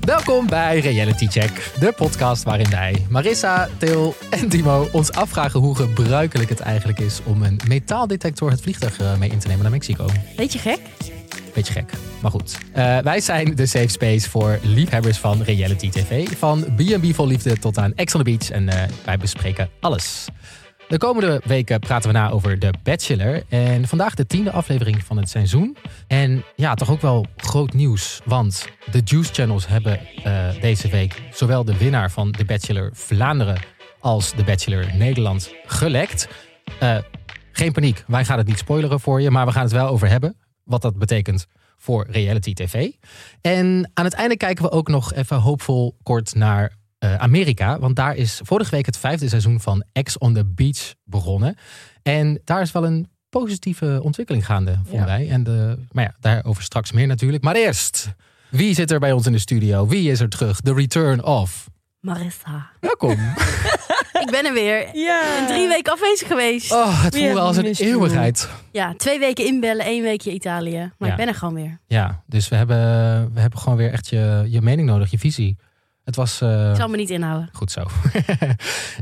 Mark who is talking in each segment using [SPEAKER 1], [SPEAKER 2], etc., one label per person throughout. [SPEAKER 1] Welkom bij Reality Check, de podcast waarin wij, Marissa, Til en Timo, ons afvragen hoe gebruikelijk het eigenlijk is om een metaaldetector het vliegtuig eh, mee in te nemen naar Mexico.
[SPEAKER 2] Beetje gek.
[SPEAKER 1] Beetje gek, maar goed. Eh, wij zijn de safe space voor liefhebbers van reality tv. Van B&B vol liefde tot aan Ex on the Beach. En eh, wij bespreken alles. De komende weken praten we na over The Bachelor. En vandaag de tiende aflevering van het seizoen. En ja, toch ook wel groot nieuws. Want de Juice Channels hebben eh, deze week zowel de winnaar van The Bachelor Vlaanderen als The Bachelor Nederland gelekt. Eh, geen paniek, wij gaan het niet spoileren voor je, maar we gaan het wel over hebben. Wat dat betekent voor reality tv. En aan het einde kijken we ook nog even hoopvol kort naar eh, Amerika. Want daar is vorige week het vijfde seizoen van Ex on the Beach begonnen. En daar is wel een positieve ontwikkeling gaande, vonden
[SPEAKER 2] Ja.
[SPEAKER 1] wij. En de, maar ja, daarover straks meer natuurlijk. Maar eerst, wie zit er bij ons in de studio? Wie is er terug? The return of.
[SPEAKER 2] Marissa.
[SPEAKER 1] Welkom.
[SPEAKER 2] Ik ben er weer.
[SPEAKER 3] Ja.
[SPEAKER 2] Ik ben drie weken afwezig geweest.
[SPEAKER 1] Oh, het
[SPEAKER 3] We
[SPEAKER 1] voelde
[SPEAKER 3] have
[SPEAKER 1] als een
[SPEAKER 3] missed you.
[SPEAKER 1] eeuwigheid.
[SPEAKER 2] Ja, twee weken inbellen, één weekje Italië. Maar
[SPEAKER 1] Ja.
[SPEAKER 2] ik ben er gewoon weer.
[SPEAKER 1] Ja, dus we hebben, we hebben gewoon weer echt je, je mening nodig, je visie. Het was eh,
[SPEAKER 2] Ik zal me niet inhouden.
[SPEAKER 1] goed zo.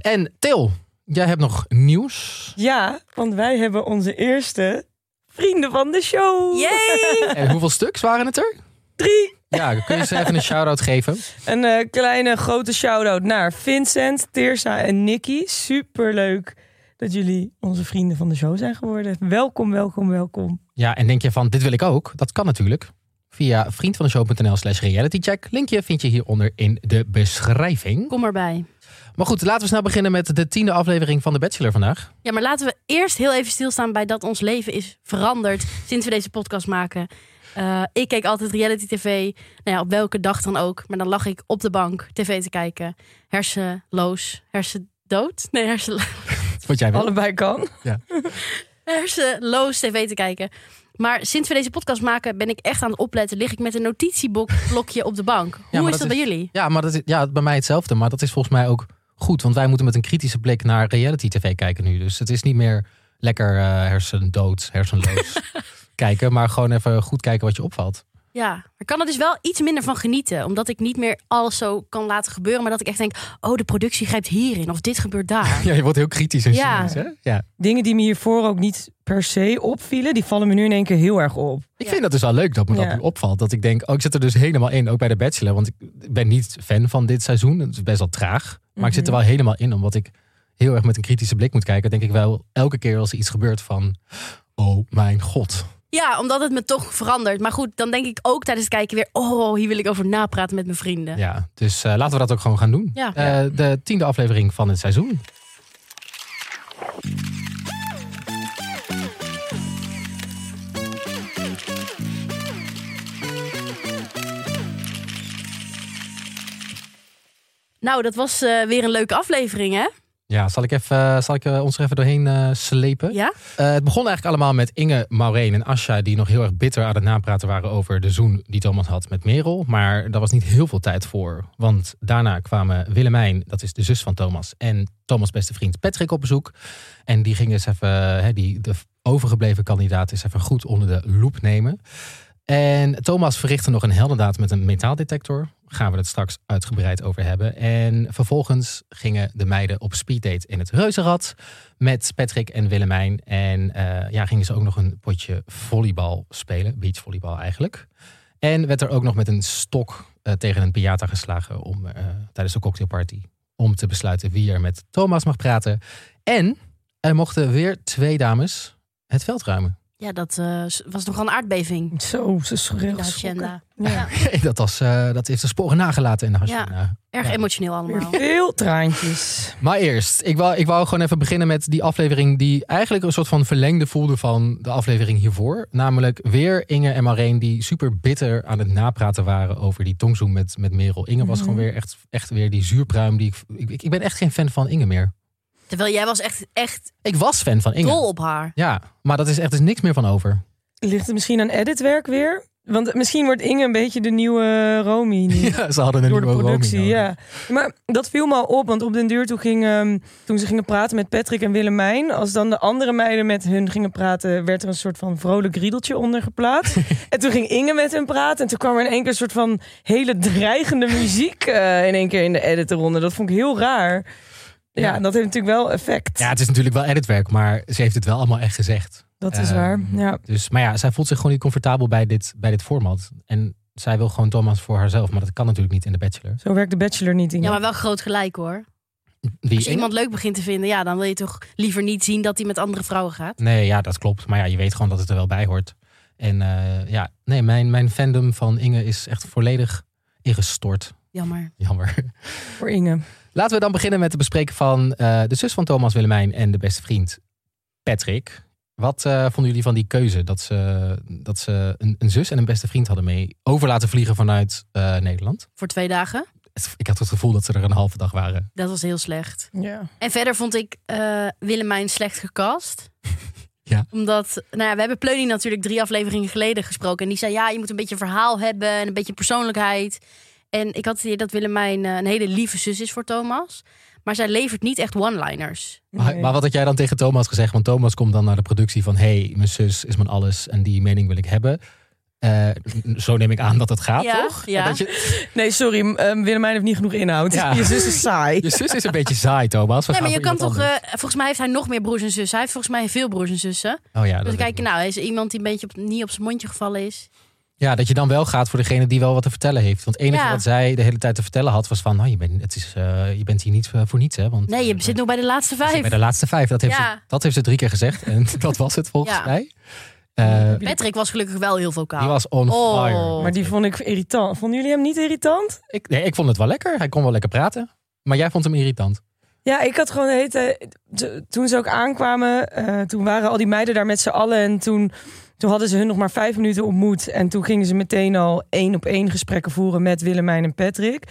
[SPEAKER 1] en Til, jij hebt nog nieuws.
[SPEAKER 3] Ja, want wij hebben onze eerste vrienden van de show.
[SPEAKER 2] Yay!
[SPEAKER 1] En hoeveel stuks waren het er?
[SPEAKER 3] Drie.
[SPEAKER 1] Ja, kun je ze even een shout-out geven?
[SPEAKER 3] Een eh, kleine grote shout-out naar Vincent, Teersa en Nicky. Superleuk dat jullie onze vrienden van de show zijn geworden. Welkom, welkom, welkom.
[SPEAKER 1] Ja, en denk je van, dit wil ik ook? Dat kan natuurlijk. Via vriendvandeshow.nl slash realitycheck. Linkje vind je hieronder in de beschrijving.
[SPEAKER 2] Kom erbij.
[SPEAKER 1] Maar goed, laten we snel beginnen met de tiende aflevering van The Bachelor vandaag.
[SPEAKER 2] Ja, maar laten we eerst heel even stilstaan bij dat ons leven is veranderd sinds we deze podcast maken. Eh, ik keek altijd reality tv, nou ja, op welke dag dan ook. Maar dan lag ik op de bank tv te kijken. Hersenloos, hersendood? Nee, hersen,
[SPEAKER 1] Wat jij wil.
[SPEAKER 3] Allebei kan.
[SPEAKER 2] hersenloos tv te kijken. Maar sinds we deze podcast maken ben ik echt aan het opletten. Lig ik met een notitieblokje op de bank.
[SPEAKER 1] maar
[SPEAKER 2] Hoe is dat,
[SPEAKER 1] dat
[SPEAKER 2] bij jullie?
[SPEAKER 1] Ja, maar dat is ja, bij mij hetzelfde. Maar dat is volgens mij ook goed. Want wij moeten met een kritische blik naar reality tv kijken nu. Dus het is niet meer lekker eh, hersendood, hersenloos kijken. Maar gewoon even goed kijken wat je opvalt.
[SPEAKER 2] Ja, maar ik kan er dus wel iets minder van genieten. Omdat ik niet meer alles zo kan laten gebeuren. Maar dat ik echt denk, oh de productie grijpt hierin. Of dit gebeurt daar.
[SPEAKER 1] Ja, je wordt heel kritisch in
[SPEAKER 2] Ja.
[SPEAKER 1] series, hè? Ja.
[SPEAKER 3] Dingen die me hiervoor ook niet per se opvielen, die vallen me nu in één keer heel erg op.
[SPEAKER 1] Ik
[SPEAKER 2] Ja.
[SPEAKER 1] vind dat dus wel leuk dat me dat
[SPEAKER 3] Ja.
[SPEAKER 1] nu opvalt. Dat ik denk, oh, ik zit er dus helemaal in. Ook bij de Bachelor. Want ik ben niet fan van dit seizoen. Het is best wel traag. Maar ik zit er
[SPEAKER 2] Mhm.
[SPEAKER 1] wel helemaal in. Omdat ik heel erg met een kritische blik moet kijken. Denk ik wel elke keer als er iets gebeurt van... Oh mijn god.
[SPEAKER 2] Ja, omdat het me toch verandert. Maar goed, dan denk ik ook tijdens het kijken weer... oh, hier wil ik over napraten met mijn vrienden.
[SPEAKER 1] Ja, dus eh, laten we dat ook gewoon gaan doen.
[SPEAKER 2] Ja.
[SPEAKER 1] Eh, de tiende aflevering van het seizoen.
[SPEAKER 2] Nou, dat was eh, weer een leuke aflevering, hè?
[SPEAKER 1] Ja, zal ik, even, eh, zal ik eh, ons er even doorheen eh, slepen?
[SPEAKER 2] Ja?
[SPEAKER 1] Eh, het begon eigenlijk allemaal met Inge, Maureen en Asja... die nog heel erg bitter aan het napraten waren over de zoen die Thomas had met Merel. Maar daar was niet heel veel tijd voor. Want daarna kwamen Willemijn, dat is de zus van Thomas... en Thomas' beste vriend Patrick op bezoek. En die ging eens even... Hè, die, de overgebleven kandidaat is even goed onder de loep nemen. En Thomas verrichtte nog een heldendaad met een metaaldetector. Gaan we het straks uitgebreid over hebben. En vervolgens gingen de meiden op speeddate in het reuzenrad met Patrick en Willemijn. En eh, ja, gingen ze ook nog een potje volleybal spelen, beachvolleybal eigenlijk. En werd er ook nog met een stok eh, tegen een piata geslagen om, eh, tijdens de cocktailparty. Om te besluiten wie er met Thomas mag praten. En er mochten weer twee dames het veld ruimen.
[SPEAKER 2] Ja, dat eh, was nogal een aardbeving.
[SPEAKER 3] Zo, ze
[SPEAKER 2] in
[SPEAKER 3] schreeuwt.
[SPEAKER 2] De agenda.
[SPEAKER 3] Ja.
[SPEAKER 1] dat, was, eh, dat heeft de sporen nagelaten in de
[SPEAKER 2] Ja.
[SPEAKER 1] Hasjana.
[SPEAKER 2] Erg
[SPEAKER 1] Ja.
[SPEAKER 2] emotioneel allemaal.
[SPEAKER 3] Veel traantjes.
[SPEAKER 1] Maar eerst, ik wou, ik wou gewoon even beginnen met die aflevering die eigenlijk een soort van verlengde voelde van de aflevering hiervoor. Namelijk weer Inge en Marijn die super bitter aan het napraten waren over die tongzoen met, met Merel. Inge was
[SPEAKER 3] Mhm.
[SPEAKER 1] gewoon weer echt, echt weer die zuurpruim die ik, ik... Ik ben echt geen fan van Inge meer.
[SPEAKER 2] Terwijl jij was echt, echt
[SPEAKER 1] Ik was fan van Inge.
[SPEAKER 2] dol op haar.
[SPEAKER 1] Ja, maar dat is echt dus niks meer van over.
[SPEAKER 3] Ligt er misschien aan editwerk weer? Want misschien wordt Inge een beetje de nieuwe Romy nu.
[SPEAKER 1] Ja, ze hadden een
[SPEAKER 3] door de
[SPEAKER 1] nieuwe
[SPEAKER 3] productie,
[SPEAKER 1] Romeo.
[SPEAKER 3] ja. Maar dat viel me al op, want op den duur toen, ging, ehm, toen ze gingen praten met Patrick en Willemijn... als dan de andere meiden met hun gingen praten... werd er een soort van vrolijk riedeltje onder geplaatst. en toen ging Inge met hen praten. En toen kwam er in één keer een soort van hele dreigende muziek... eh, in één keer in de editorronde. Dat vond ik heel raar. Ja,
[SPEAKER 1] Ja.
[SPEAKER 3] en dat heeft natuurlijk wel effect.
[SPEAKER 1] Ja, het is natuurlijk wel editwerk, maar ze heeft het wel allemaal echt gezegd.
[SPEAKER 3] dat is
[SPEAKER 1] ehm,
[SPEAKER 3] waar, ja.
[SPEAKER 1] Dus, maar ja, zij voelt zich gewoon niet comfortabel bij dit, bij dit format. En zij wil gewoon Thomas voor haarzelf, maar dat kan natuurlijk niet in The Bachelor.
[SPEAKER 3] Zo werkt de Bachelor niet, Inge.
[SPEAKER 2] Ja, maar wel groot gelijk hoor.
[SPEAKER 1] Wie
[SPEAKER 2] Als je
[SPEAKER 1] in-
[SPEAKER 2] iemand leuk begint te vinden, ja, dan wil je toch liever niet zien dat hij met andere vrouwen gaat.
[SPEAKER 1] Nee, ja, dat klopt. Maar ja, je weet gewoon dat het er wel bij hoort. En eh, ja, nee, mijn, mijn fandom van Inge is echt volledig ingestort.
[SPEAKER 2] Jammer.
[SPEAKER 1] Jammer.
[SPEAKER 3] Voor Inge.
[SPEAKER 1] Laten we dan beginnen met het bespreken van eh, de zus van Thomas Willemijn en de beste vriend Patrick. Wat eh, vonden jullie van die keuze dat ze, dat ze een, een zus en een beste vriend hadden mee over laten vliegen vanuit eh, Nederland?
[SPEAKER 2] Voor twee dagen.
[SPEAKER 1] Het- Ik had het gevoel dat ze er een halve dag waren.
[SPEAKER 2] Dat was heel slecht.
[SPEAKER 3] Ja.
[SPEAKER 2] En verder vond ik eh, Willemijn slecht gecast.
[SPEAKER 1] Ja.
[SPEAKER 2] Omdat, nou ja, we hebben Pleunie natuurlijk drie afleveringen geleden gesproken. En die zei, ja, je moet een beetje verhaal hebben en een beetje persoonlijkheid. En ik had het idee dat Willemijn eh, een hele lieve zus is voor Thomas. Maar zij levert niet echt one-liners.
[SPEAKER 1] Maar, maar wat had jij dan tegen Thomas gezegd? Want Thomas komt dan naar de productie van: hey, mijn zus is mijn alles en die mening wil ik hebben. Eh, zo neem ik aan dat het gaat,
[SPEAKER 2] Ja,
[SPEAKER 1] toch?
[SPEAKER 2] ja.
[SPEAKER 1] Dat je,
[SPEAKER 3] Nee, sorry, ehm, Willemijn heeft niet genoeg inhoud.
[SPEAKER 1] Ja.
[SPEAKER 3] Je zus is saai.
[SPEAKER 1] je zus is een beetje saai, Thomas. We
[SPEAKER 2] Nee,
[SPEAKER 1] gaan
[SPEAKER 2] maar je
[SPEAKER 1] voor
[SPEAKER 2] kan
[SPEAKER 1] iemand
[SPEAKER 2] toch... eh, volgens mij heeft hij nog meer broers en zussen. Hij heeft volgens mij veel broers en zussen.
[SPEAKER 1] anders. oh, ja, dat
[SPEAKER 2] Dus
[SPEAKER 1] weet ik
[SPEAKER 2] kijk, nou, hij is iemand die een beetje op, niet op zijn mondje gevallen is.
[SPEAKER 1] Ja, dat je dan wel gaat voor degene die wel wat te vertellen heeft. Want het enige
[SPEAKER 2] Ja.
[SPEAKER 1] wat zij de hele tijd te vertellen had, was van... Nou, je, bent, het is, eh, je bent hier niet eh, voor niets, hè? Want,
[SPEAKER 2] Nee, je
[SPEAKER 1] eh,
[SPEAKER 2] zit nog bij de laatste
[SPEAKER 1] we zitten
[SPEAKER 2] vijf.
[SPEAKER 1] Bij de laatste vijf, dat heeft,
[SPEAKER 2] Ja.
[SPEAKER 1] ze, dat heeft ze drie keer gezegd. En dat was het volgens
[SPEAKER 2] Ja.
[SPEAKER 1] mij. Eh,
[SPEAKER 2] Patrick was gelukkig wel heel vocaal.
[SPEAKER 1] die was on
[SPEAKER 2] Oh.
[SPEAKER 1] fire.
[SPEAKER 3] Maar die vond ik irritant. Vonden jullie hem niet irritant?
[SPEAKER 1] ik, nee, ik vond het wel lekker. Hij kon wel lekker praten. Maar jij vond hem irritant.
[SPEAKER 3] Ja, ik had gewoon de hele tijd- t- Toen ze ook aankwamen, eh, toen waren al die meiden daar met z'n allen. En toen, toen hadden ze hun nog maar vijf minuten ontmoet. En toen gingen ze meteen al één op één gesprekken voeren met Willemijn en Patrick.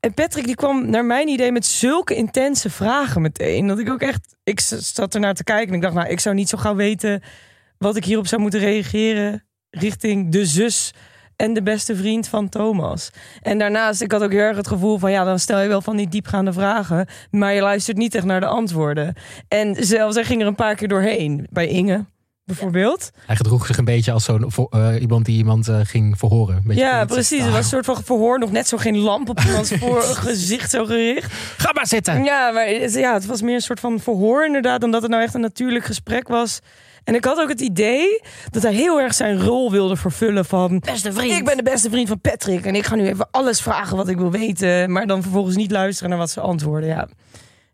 [SPEAKER 3] En Patrick die kwam naar mijn idee met zulke intense vragen meteen. Dat ik ook echt... Ik s- zat ernaar te kijken en ik dacht, nou, ik zou niet zo gauw weten... wat ik hierop zou moeten reageren richting de zus en de beste vriend van Thomas. En daarnaast, ik had ook heel erg het gevoel van... ja, dan stel je wel van die diepgaande vragen... maar je luistert niet echt naar de antwoorden. En zelfs, hij ging er een paar keer doorheen. Bij Inge, bijvoorbeeld.
[SPEAKER 1] Hij gedroeg zich een beetje als zo'n vo- eh, iemand die iemand eh, ging verhoren. Een beetje
[SPEAKER 3] Ja,
[SPEAKER 1] politie-
[SPEAKER 3] precies. Er was een soort van verhoor. Nog net zo geen lamp op iemands voor, gezicht zo gericht.
[SPEAKER 1] Ga maar zitten!
[SPEAKER 3] Ja, maar het- ja, het was meer een soort van verhoor inderdaad... dan dat het nou echt een natuurlijk gesprek was. En ik had ook het idee dat hij heel erg zijn rol wilde vervullen van...
[SPEAKER 2] Beste vriend.
[SPEAKER 3] Ik ben de beste vriend van Patrick en ik ga nu even alles vragen wat ik wil weten. Maar dan vervolgens niet luisteren naar wat ze antwoorden. Ja.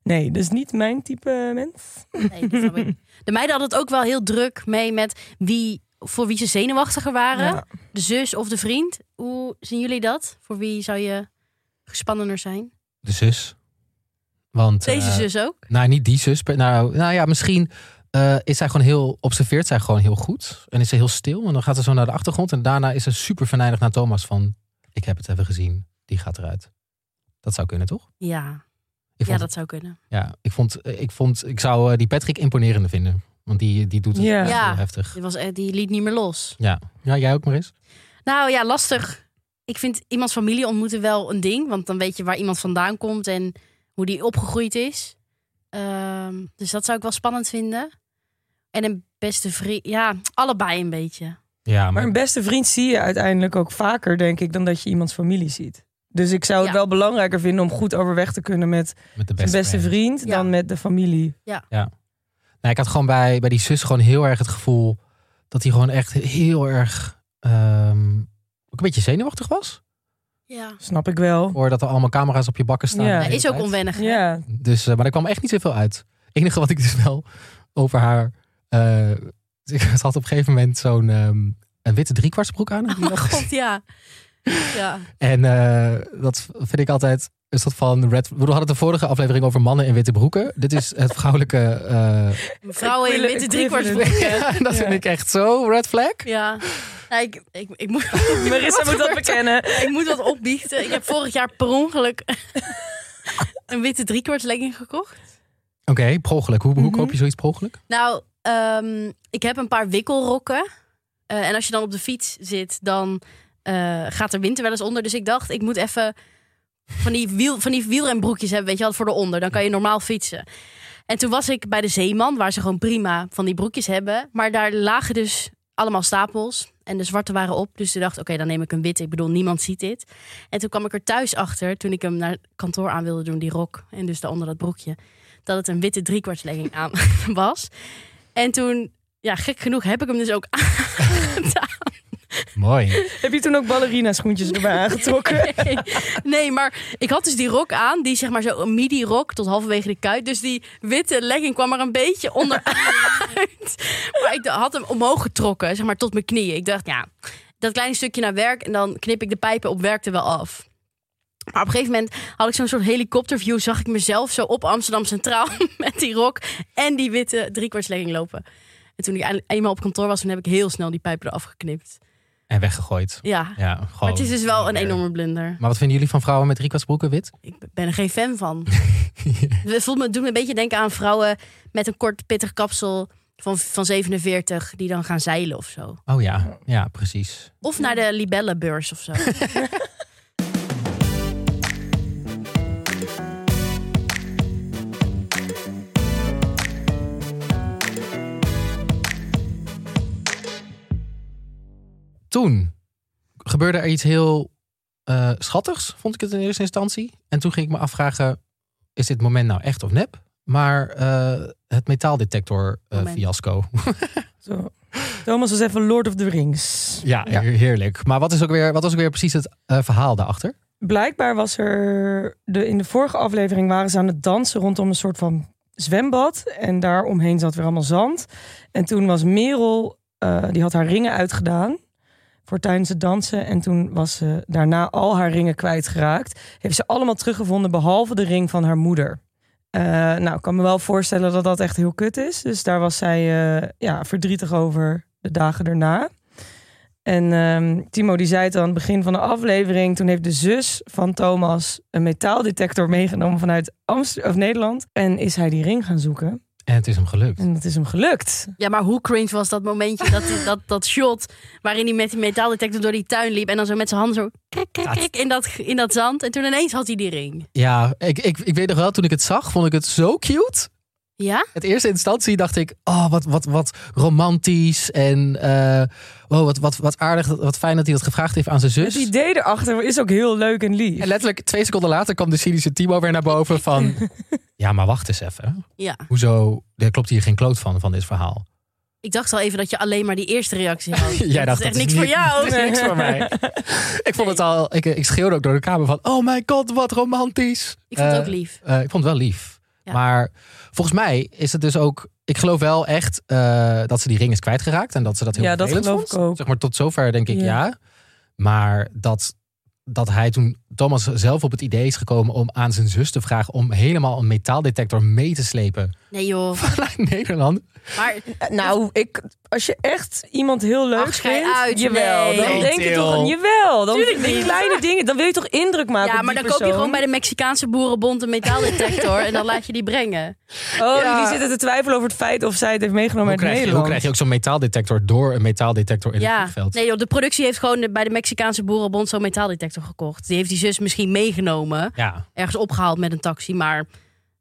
[SPEAKER 3] Nee, dus niet mijn type mens.
[SPEAKER 2] Nee, dat snap ik. De meiden hadden het ook wel heel druk mee met wie, voor wie ze zenuwachtiger waren.
[SPEAKER 3] Ja.
[SPEAKER 2] De zus of de vriend. Hoe zien jullie dat? Voor wie zou je gespannener zijn?
[SPEAKER 1] De zus. Want,
[SPEAKER 2] Deze
[SPEAKER 1] eh,
[SPEAKER 2] zus ook.
[SPEAKER 1] Nou, niet die zus. maar Nou, nou ja, misschien eh, is zij gewoon heel, observeert zij gewoon heel goed. En is ze heel stil. En dan gaat ze zo naar de achtergrond. En daarna is ze super venijnig naar Thomas van, ik heb het even gezien. Die gaat eruit. Dat zou kunnen, toch?
[SPEAKER 2] Ja, ja
[SPEAKER 1] Ik vond,
[SPEAKER 2] dat zou kunnen.
[SPEAKER 1] ja, ik, vond, ik, vond, ik zou eh, die Patrick imponerender vinden. Want die, die doet het
[SPEAKER 3] Ja.
[SPEAKER 1] heel
[SPEAKER 2] Ja.
[SPEAKER 1] heftig.
[SPEAKER 2] Die, was, eh, die liet niet meer los.
[SPEAKER 1] Ja. ja, jij ook maar eens.
[SPEAKER 2] Nou ja, lastig. Ik vind iemands familie ontmoeten wel een ding. Want dan weet je waar iemand vandaan komt en hoe die opgegroeid is. Ehm, dus dat zou ik wel spannend vinden. En een beste vriend. Ja, allebei een beetje.
[SPEAKER 1] Ja,
[SPEAKER 3] Maar
[SPEAKER 1] maar,
[SPEAKER 3] een beste vriend zie je uiteindelijk ook vaker, denk ik, dan dat je iemands familie ziet. Dus ik zou het
[SPEAKER 2] Ja.
[SPEAKER 3] wel belangrijker vinden om goed overweg te kunnen met
[SPEAKER 1] met de
[SPEAKER 3] zijn
[SPEAKER 1] beste,
[SPEAKER 3] beste
[SPEAKER 1] vriend.
[SPEAKER 3] vriend
[SPEAKER 2] Ja.
[SPEAKER 3] dan met de familie.
[SPEAKER 1] Nou, ik had gewoon bij, bij die zus gewoon heel erg het gevoel dat hij gewoon echt heel erg... ehm, ook een beetje zenuwachtig was.
[SPEAKER 2] Ja.
[SPEAKER 3] Snap ik wel.
[SPEAKER 1] Hoor dat er allemaal camera's op je bakken staan.
[SPEAKER 3] Ja.
[SPEAKER 1] de
[SPEAKER 3] Ja,
[SPEAKER 1] hele
[SPEAKER 2] is ook
[SPEAKER 1] tijd.
[SPEAKER 2] onwennig. hè?
[SPEAKER 3] Ja,
[SPEAKER 1] Dus, eh, maar er kwam echt niet zoveel uit. Het enige wat ik dus wel over haar... eh, ik had op een gegeven moment zo'n ehm, een witte driekwartsbroek aan. heb je
[SPEAKER 2] Oh
[SPEAKER 1] dat
[SPEAKER 2] mijn
[SPEAKER 1] gezien?
[SPEAKER 2] god, ja. ja.
[SPEAKER 1] En eh, dat vind ik altijd een soort van red... We hadden het de vorige aflevering over mannen in witte broeken. Dit is het vrouwelijke... eh,
[SPEAKER 2] Vrouwen in
[SPEAKER 3] Equivalent-
[SPEAKER 2] witte driekwartsbroeken.
[SPEAKER 1] ja, dat vind
[SPEAKER 3] Ja.
[SPEAKER 1] ik echt zo red flag.
[SPEAKER 2] Ja. Ja, ik, ik, ik moet,
[SPEAKER 3] Marissa
[SPEAKER 2] Wat
[SPEAKER 3] moet dat
[SPEAKER 2] gebeurt er?
[SPEAKER 3] bekennen.
[SPEAKER 2] Ik moet wat opbiechten. Ik heb vorig jaar per ongeluk een witte driekwartslegging gekocht.
[SPEAKER 1] Oké, per ongeluk. Hoe, hoe
[SPEAKER 3] Mhm.
[SPEAKER 1] koop je zoiets per ongeluk?
[SPEAKER 2] Nou, ehm, ik heb een paar wikkelrokken. Eh, en als je dan op de fiets zit, dan eh, gaat er winter wel eens onder. Dus ik dacht, ik moet even van die, wiel, van die wielrenbroekjes hebben, weet je wel, voor de onder. Dan kan je normaal fietsen. En toen was ik bij de Zeeman, waar ze gewoon prima van die broekjes hebben. Maar daar lagen dus allemaal stapels. En de zwarte waren op. Dus toen dacht ik, oké, dan neem ik een wit. Ik bedoel, niemand ziet dit. En toen kwam ik er thuis achter, toen ik hem naar het kantoor aan wilde doen, die rok. En dus daaronder dat broekje. Dat het een witte driekwartslegging aan was. En toen, ja, gek genoeg heb ik hem dus ook aangedaan.
[SPEAKER 1] Mooi.
[SPEAKER 3] Heb je toen ook ballerina schoentjes erbij aangetrokken?
[SPEAKER 2] Nee, nee, maar ik had dus die rok aan, die zeg maar zo een midi rok tot halverwege de kuit. Dus die witte legging kwam er een beetje onderuit. maar ik had hem omhoog getrokken, zeg maar tot mijn knieën. Ik dacht, ja, dat kleine stukje naar werk en dan knip ik de pijpen op werk er wel af. Maar op een gegeven moment had ik zo'n soort helikopterview. Zag ik mezelf zo op Amsterdam Centraal met die rok en die witte driekwartslegging lopen. En toen ik eindelijk eenmaal op kantoor was, toen heb ik heel snel die pijpen eraf geknipt.
[SPEAKER 1] En weggegooid.
[SPEAKER 2] Ja,
[SPEAKER 1] Ja, gewoon.
[SPEAKER 2] maar het is dus wel een enorme blunder.
[SPEAKER 1] Maar wat vinden jullie van vrouwen met driekwartsbroeken wit?
[SPEAKER 2] Ik ben er geen fan van. Het voelt me, het doet me een beetje denken aan vrouwen met een kort pittig kapsel van, van 47 die dan gaan zeilen of zo.
[SPEAKER 1] Oh ja, ja, precies.
[SPEAKER 2] Of naar de libellenbeurs of zo.
[SPEAKER 1] Toen gebeurde er iets heel eh, schattigs, vond ik het in eerste instantie. En toen ging ik me afvragen, is dit moment nou echt of nep? Maar eh, het metaaldetector eh,
[SPEAKER 2] Moment.
[SPEAKER 1] fiasco.
[SPEAKER 3] Zo. Thomas was even Lord of the Rings.
[SPEAKER 1] Ja, heerlijk. Maar wat, is ook weer, wat was ook weer precies het eh, verhaal daarachter?
[SPEAKER 3] Blijkbaar was er... De, in de vorige aflevering waren ze aan het dansen rondom een soort van zwembad. En daar omheen zat weer allemaal zand. En toen was Merel... eh, die had haar ringen uitgedaan voor tijdens het dansen. En toen was ze daarna al haar ringen kwijtgeraakt. Heeft ze allemaal teruggevonden, behalve de ring van haar moeder. Eh, nou, ik kan me wel voorstellen dat dat echt heel kut is. Dus daar was zij eh, ja, verdrietig over de dagen daarna. En ehm, Timo die zei het al aan het begin van de aflevering... toen heeft de zus van Thomas een metaaldetector meegenomen vanuit Amsterdam, of Nederland. En is hij die ring gaan zoeken.
[SPEAKER 1] En het is hem gelukt.
[SPEAKER 3] En dat is hem gelukt.
[SPEAKER 2] Ja, maar hoe cringe was dat momentje, dat, dat, dat shot... waarin hij met die metaaldetector door die tuin liep... en dan zo met zijn handen zo krik, krik, krik, in, dat, in dat zand. En toen ineens had hij die ring.
[SPEAKER 1] Ja, ik, ik, ik weet nog wel, toen ik het zag, vond ik het zo cute.
[SPEAKER 2] Ja?
[SPEAKER 1] Het eerste instantie dacht ik, oh, wat, wat, wat romantisch. En eh, wow, wat, wat, wat aardig, wat fijn dat hij dat gevraagd heeft aan zijn
[SPEAKER 3] Het
[SPEAKER 1] zus.
[SPEAKER 3] idee erachter is ook heel leuk en lief.
[SPEAKER 1] Dus? En letterlijk twee seconden later kwam de cynische Timo weer naar boven van... ja, maar wacht eens even.
[SPEAKER 2] Ja.
[SPEAKER 1] Hoezo, er klopt hier geen kloot van, van dit verhaal.
[SPEAKER 2] Ik dacht al even dat je alleen maar die eerste reactie had.
[SPEAKER 1] Jij dacht,
[SPEAKER 2] dat is echt niks
[SPEAKER 1] dat is
[SPEAKER 2] voor
[SPEAKER 1] niet-
[SPEAKER 2] jou.
[SPEAKER 1] dat is niks voor mij. Ik vond het al, ik, ik schreeuwde ook door de kamer van, oh mijn god, wat romantisch.
[SPEAKER 2] Ik vond het
[SPEAKER 1] Eh,
[SPEAKER 2] ook lief.
[SPEAKER 1] Eh, ik vond het wel lief.
[SPEAKER 2] Ja.
[SPEAKER 1] Maar volgens mij is het dus ook. Ik geloof wel echt eh, dat ze die ring is kwijtgeraakt. En dat ze dat heel
[SPEAKER 3] Ja, dat
[SPEAKER 1] vervelend
[SPEAKER 3] geloof
[SPEAKER 1] vond.
[SPEAKER 3] ik ook.
[SPEAKER 1] Zeg maar tot zover denk ik ja.
[SPEAKER 3] Ja.
[SPEAKER 1] Maar dat, dat hij toen Thomas zelf op het idee is gekomen om aan zijn zus te vragen om helemaal een metaaldetector mee te slepen
[SPEAKER 2] Nee joh,
[SPEAKER 1] vanuit
[SPEAKER 3] Oh,
[SPEAKER 1] Nederland.
[SPEAKER 2] maar
[SPEAKER 3] Nou, ik, als je echt iemand heel leuk
[SPEAKER 2] Ach, schei
[SPEAKER 3] vindt,
[SPEAKER 2] uit,
[SPEAKER 3] jawel,
[SPEAKER 2] nee.
[SPEAKER 3] dan
[SPEAKER 1] Nee,
[SPEAKER 3] denk je toch,
[SPEAKER 1] Til.
[SPEAKER 3] jawel, dan
[SPEAKER 2] Tuurlijk
[SPEAKER 3] die
[SPEAKER 2] niet.
[SPEAKER 3] kleine dingen, dan wil je toch indruk maken.
[SPEAKER 2] Ja,
[SPEAKER 3] op
[SPEAKER 2] maar
[SPEAKER 3] die
[SPEAKER 2] dan koop je
[SPEAKER 3] persoon?
[SPEAKER 2] gewoon bij de Mexicaanse boerenbond een metaaldetector en dan laat je die brengen.
[SPEAKER 3] Oh,
[SPEAKER 1] Ja.
[SPEAKER 3] jullie zitten te twijfelen over het feit of zij het heeft meegenomen
[SPEAKER 1] Hoe
[SPEAKER 3] uit
[SPEAKER 1] krijg, je, hoe
[SPEAKER 3] Nederland.
[SPEAKER 1] krijg je ook zo'n metaaldetector door een metaaldetector in het
[SPEAKER 2] ja,
[SPEAKER 1] vliegveld?
[SPEAKER 2] nee joh, de productie heeft gewoon de- bij de Mexicaanse boerenbond zo'n metaaldetector gekocht. Die heeft die zus misschien meegenomen,
[SPEAKER 1] Ja.
[SPEAKER 2] ergens opgehaald met een taxi, maar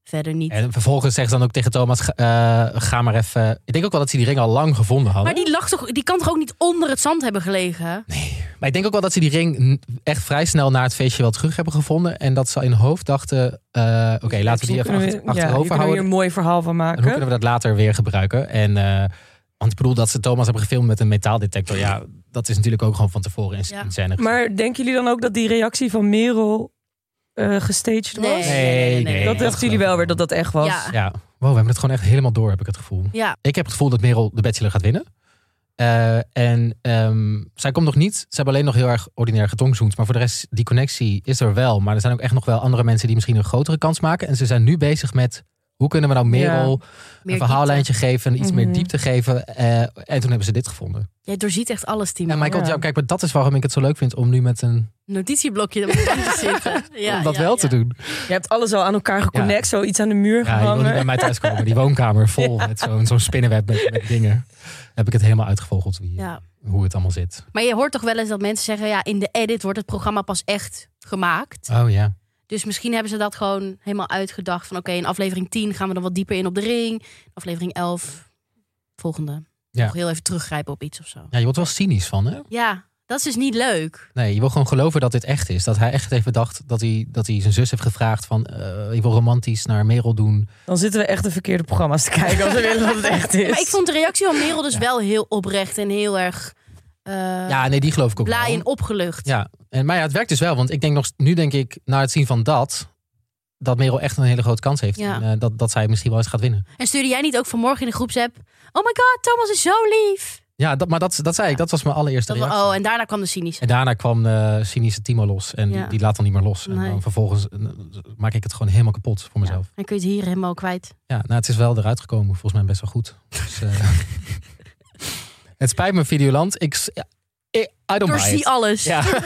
[SPEAKER 2] verder niet.
[SPEAKER 1] En vervolgens zeggen ze dan ook tegen Thomas: ga- eh, ga maar even. Ik denk ook wel dat ze die ring al lang gevonden hadden.
[SPEAKER 2] Maar die, lag toch, die kan toch ook niet onder het zand hebben gelegen?
[SPEAKER 1] Maar ik denk ook wel dat ze die ring n- echt vrij snel na het feestje wel terug hebben gevonden. En dat ze in hun hoofd dachten, eh, oké, laten we die
[SPEAKER 3] Hoe
[SPEAKER 1] even
[SPEAKER 3] kunnen
[SPEAKER 1] achter,
[SPEAKER 3] ja, hier
[SPEAKER 1] achterover
[SPEAKER 3] kunnen we hier
[SPEAKER 1] houden.
[SPEAKER 3] een mooi verhaal van
[SPEAKER 1] En hoe
[SPEAKER 3] maken.
[SPEAKER 1] kunnen we dat later weer gebruiken? En, eh, want ik bedoel, dat ze Thomas hebben gefilmd met een metaaldetector. Ja, dat is natuurlijk ook gewoon van tevoren in,
[SPEAKER 2] Ja.
[SPEAKER 1] in scène. gezet.
[SPEAKER 3] Maar denken jullie dan ook dat die reactie van Merel eh gestaged was?
[SPEAKER 2] Nee. nee.
[SPEAKER 3] Dat
[SPEAKER 1] geloof
[SPEAKER 3] dachten jullie wel
[SPEAKER 1] ik
[SPEAKER 3] weer dat dat echt was.
[SPEAKER 2] Ja.
[SPEAKER 1] Ja, wow, we hebben het gewoon echt helemaal door, heb ik het gevoel.
[SPEAKER 2] Ja.
[SPEAKER 1] Ik heb het gevoel dat Merel de Bachelor gaat winnen. Eh, en ehm, zij komt nog niet. Ze hebben alleen nog heel erg ordinair getongzoend. Maar voor de rest, die connectie is er wel. Maar er zijn ook echt nog wel andere mensen die misschien een grotere kans maken. En ze zijn nu bezig met hoe kunnen we nou Merel
[SPEAKER 2] Meer
[SPEAKER 1] een verhaallijntje geven, iets meer
[SPEAKER 3] Mhm.
[SPEAKER 1] diepte geven. Eh, en toen hebben ze dit gevonden.
[SPEAKER 2] Jij doorziet echt alles, Timo.
[SPEAKER 1] En Michael,
[SPEAKER 3] Ja.
[SPEAKER 1] ja. kijk, maar dat is waarom ik het zo leuk vind om nu met een
[SPEAKER 2] Notitieblokje op te zitten. Ja,
[SPEAKER 1] om dat
[SPEAKER 2] ja,
[SPEAKER 1] wel
[SPEAKER 2] ja.
[SPEAKER 1] te doen.
[SPEAKER 3] Je hebt alles al aan elkaar geconnect, zo iets aan de
[SPEAKER 1] Ja, je
[SPEAKER 3] muur
[SPEAKER 1] wil
[SPEAKER 2] eh,
[SPEAKER 1] niet
[SPEAKER 3] gehangen.
[SPEAKER 1] bij mij thuis komen. Die woonkamer vol met zo'n zo'n spinnenweb met, met dingen. Heb ik het helemaal uitgevogeld. Wie,
[SPEAKER 2] Ja.
[SPEAKER 1] hoe het allemaal zit.
[SPEAKER 2] Maar je hoort toch wel eens dat mensen zeggen: ja, in de edit wordt het programma pas echt gemaakt.
[SPEAKER 1] Oh ja.
[SPEAKER 2] Dus misschien hebben ze dat gewoon helemaal uitgedacht. Van oké, in aflevering 10 gaan we dan wat dieper in op de ring. Aflevering 11, volgende.
[SPEAKER 1] Ja.
[SPEAKER 2] Nog heel even teruggrijpen op iets of zo.
[SPEAKER 1] ja, je wordt wel cynisch van, hè?
[SPEAKER 2] Ja, dat is dus niet leuk.
[SPEAKER 1] Nee, je wil gewoon geloven dat dit echt is. Dat hij echt heeft bedacht dat hij, dat hij zijn zus heeft gevraagd van... eh ik wil romantisch naar Merel doen.
[SPEAKER 3] Dan zitten we echt de verkeerde programma's te kijken als we willen dat het echt is.
[SPEAKER 2] Maar ik vond de reactie van Merel dus
[SPEAKER 1] Ja.
[SPEAKER 2] wel heel oprecht en heel erg eh
[SPEAKER 1] Ja, nee, die geloof ik ook
[SPEAKER 2] blij
[SPEAKER 1] wel.
[SPEAKER 2] en opgelucht.
[SPEAKER 1] Ja, en, maar ja, het werkt dus wel. Want ik denk nog, nu denk ik, na het zien van dat... dat Merel echt een hele grote kans heeft.
[SPEAKER 2] Ja.
[SPEAKER 1] En, eh, dat, dat zij misschien wel eens gaat winnen.
[SPEAKER 2] En stuurde jij niet ook vanmorgen in de groepsapp... Oh my god, Thomas is zo lief.
[SPEAKER 1] Ja, dat, maar dat, dat zei ik. Dat was mijn allereerste
[SPEAKER 2] Dat we-
[SPEAKER 1] reactie.
[SPEAKER 2] oh, en daarna kwam de cynische.
[SPEAKER 1] En daarna kwam de cynische Timo los. En
[SPEAKER 2] Ja.
[SPEAKER 1] die laat dan niet meer los. En
[SPEAKER 2] Nee.
[SPEAKER 1] dan vervolgens eh, maak ik het gewoon helemaal kapot voor mezelf.
[SPEAKER 2] Ja, dan kun je het hier helemaal kwijt.
[SPEAKER 1] Ja, nou, het is wel eruit gekomen. Volgens mij best wel goed. Dus, eh, het spijt me, Videoland. Ik, s- ja, I I don't buy
[SPEAKER 2] Doorzie
[SPEAKER 1] it.
[SPEAKER 2] alles.
[SPEAKER 1] Ja.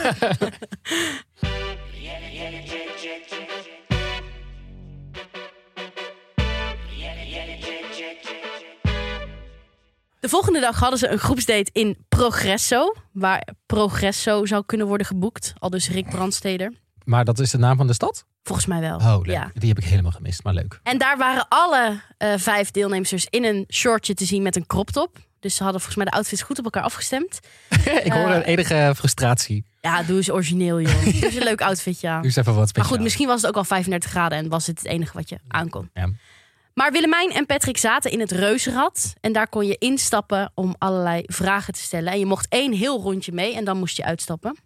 [SPEAKER 2] De volgende dag hadden ze een groepsdate in Progresso. Waar Progresso zou kunnen worden geboekt. Al dus Rick Brandsteder.
[SPEAKER 1] Maar dat is de naam van de stad?
[SPEAKER 2] Volgens mij wel.
[SPEAKER 1] Oh, leuk.
[SPEAKER 2] Ja.
[SPEAKER 1] Die heb ik helemaal gemist, maar leuk.
[SPEAKER 2] En daar waren alle eh, vijf deelnemers in een shortje te zien met een crop top. Dus ze hadden volgens mij de outfits goed op elkaar afgestemd.
[SPEAKER 1] ik hoor
[SPEAKER 2] Eh.
[SPEAKER 1] een enige frustratie.
[SPEAKER 2] Ja, doe eens origineel, joh. Doe eens een leuk outfitje aan.
[SPEAKER 1] Nu is even wat
[SPEAKER 2] Maar
[SPEAKER 1] speciaal.
[SPEAKER 2] goed, misschien was het ook al 35 graden en was dit het enige wat je aankon.
[SPEAKER 1] Ja.
[SPEAKER 2] Maar Willemijn en Patrick zaten in het reuzenrad. En daar kon je instappen om allerlei vragen te stellen. En je mocht één heel rondje mee en dan moest je uitstappen.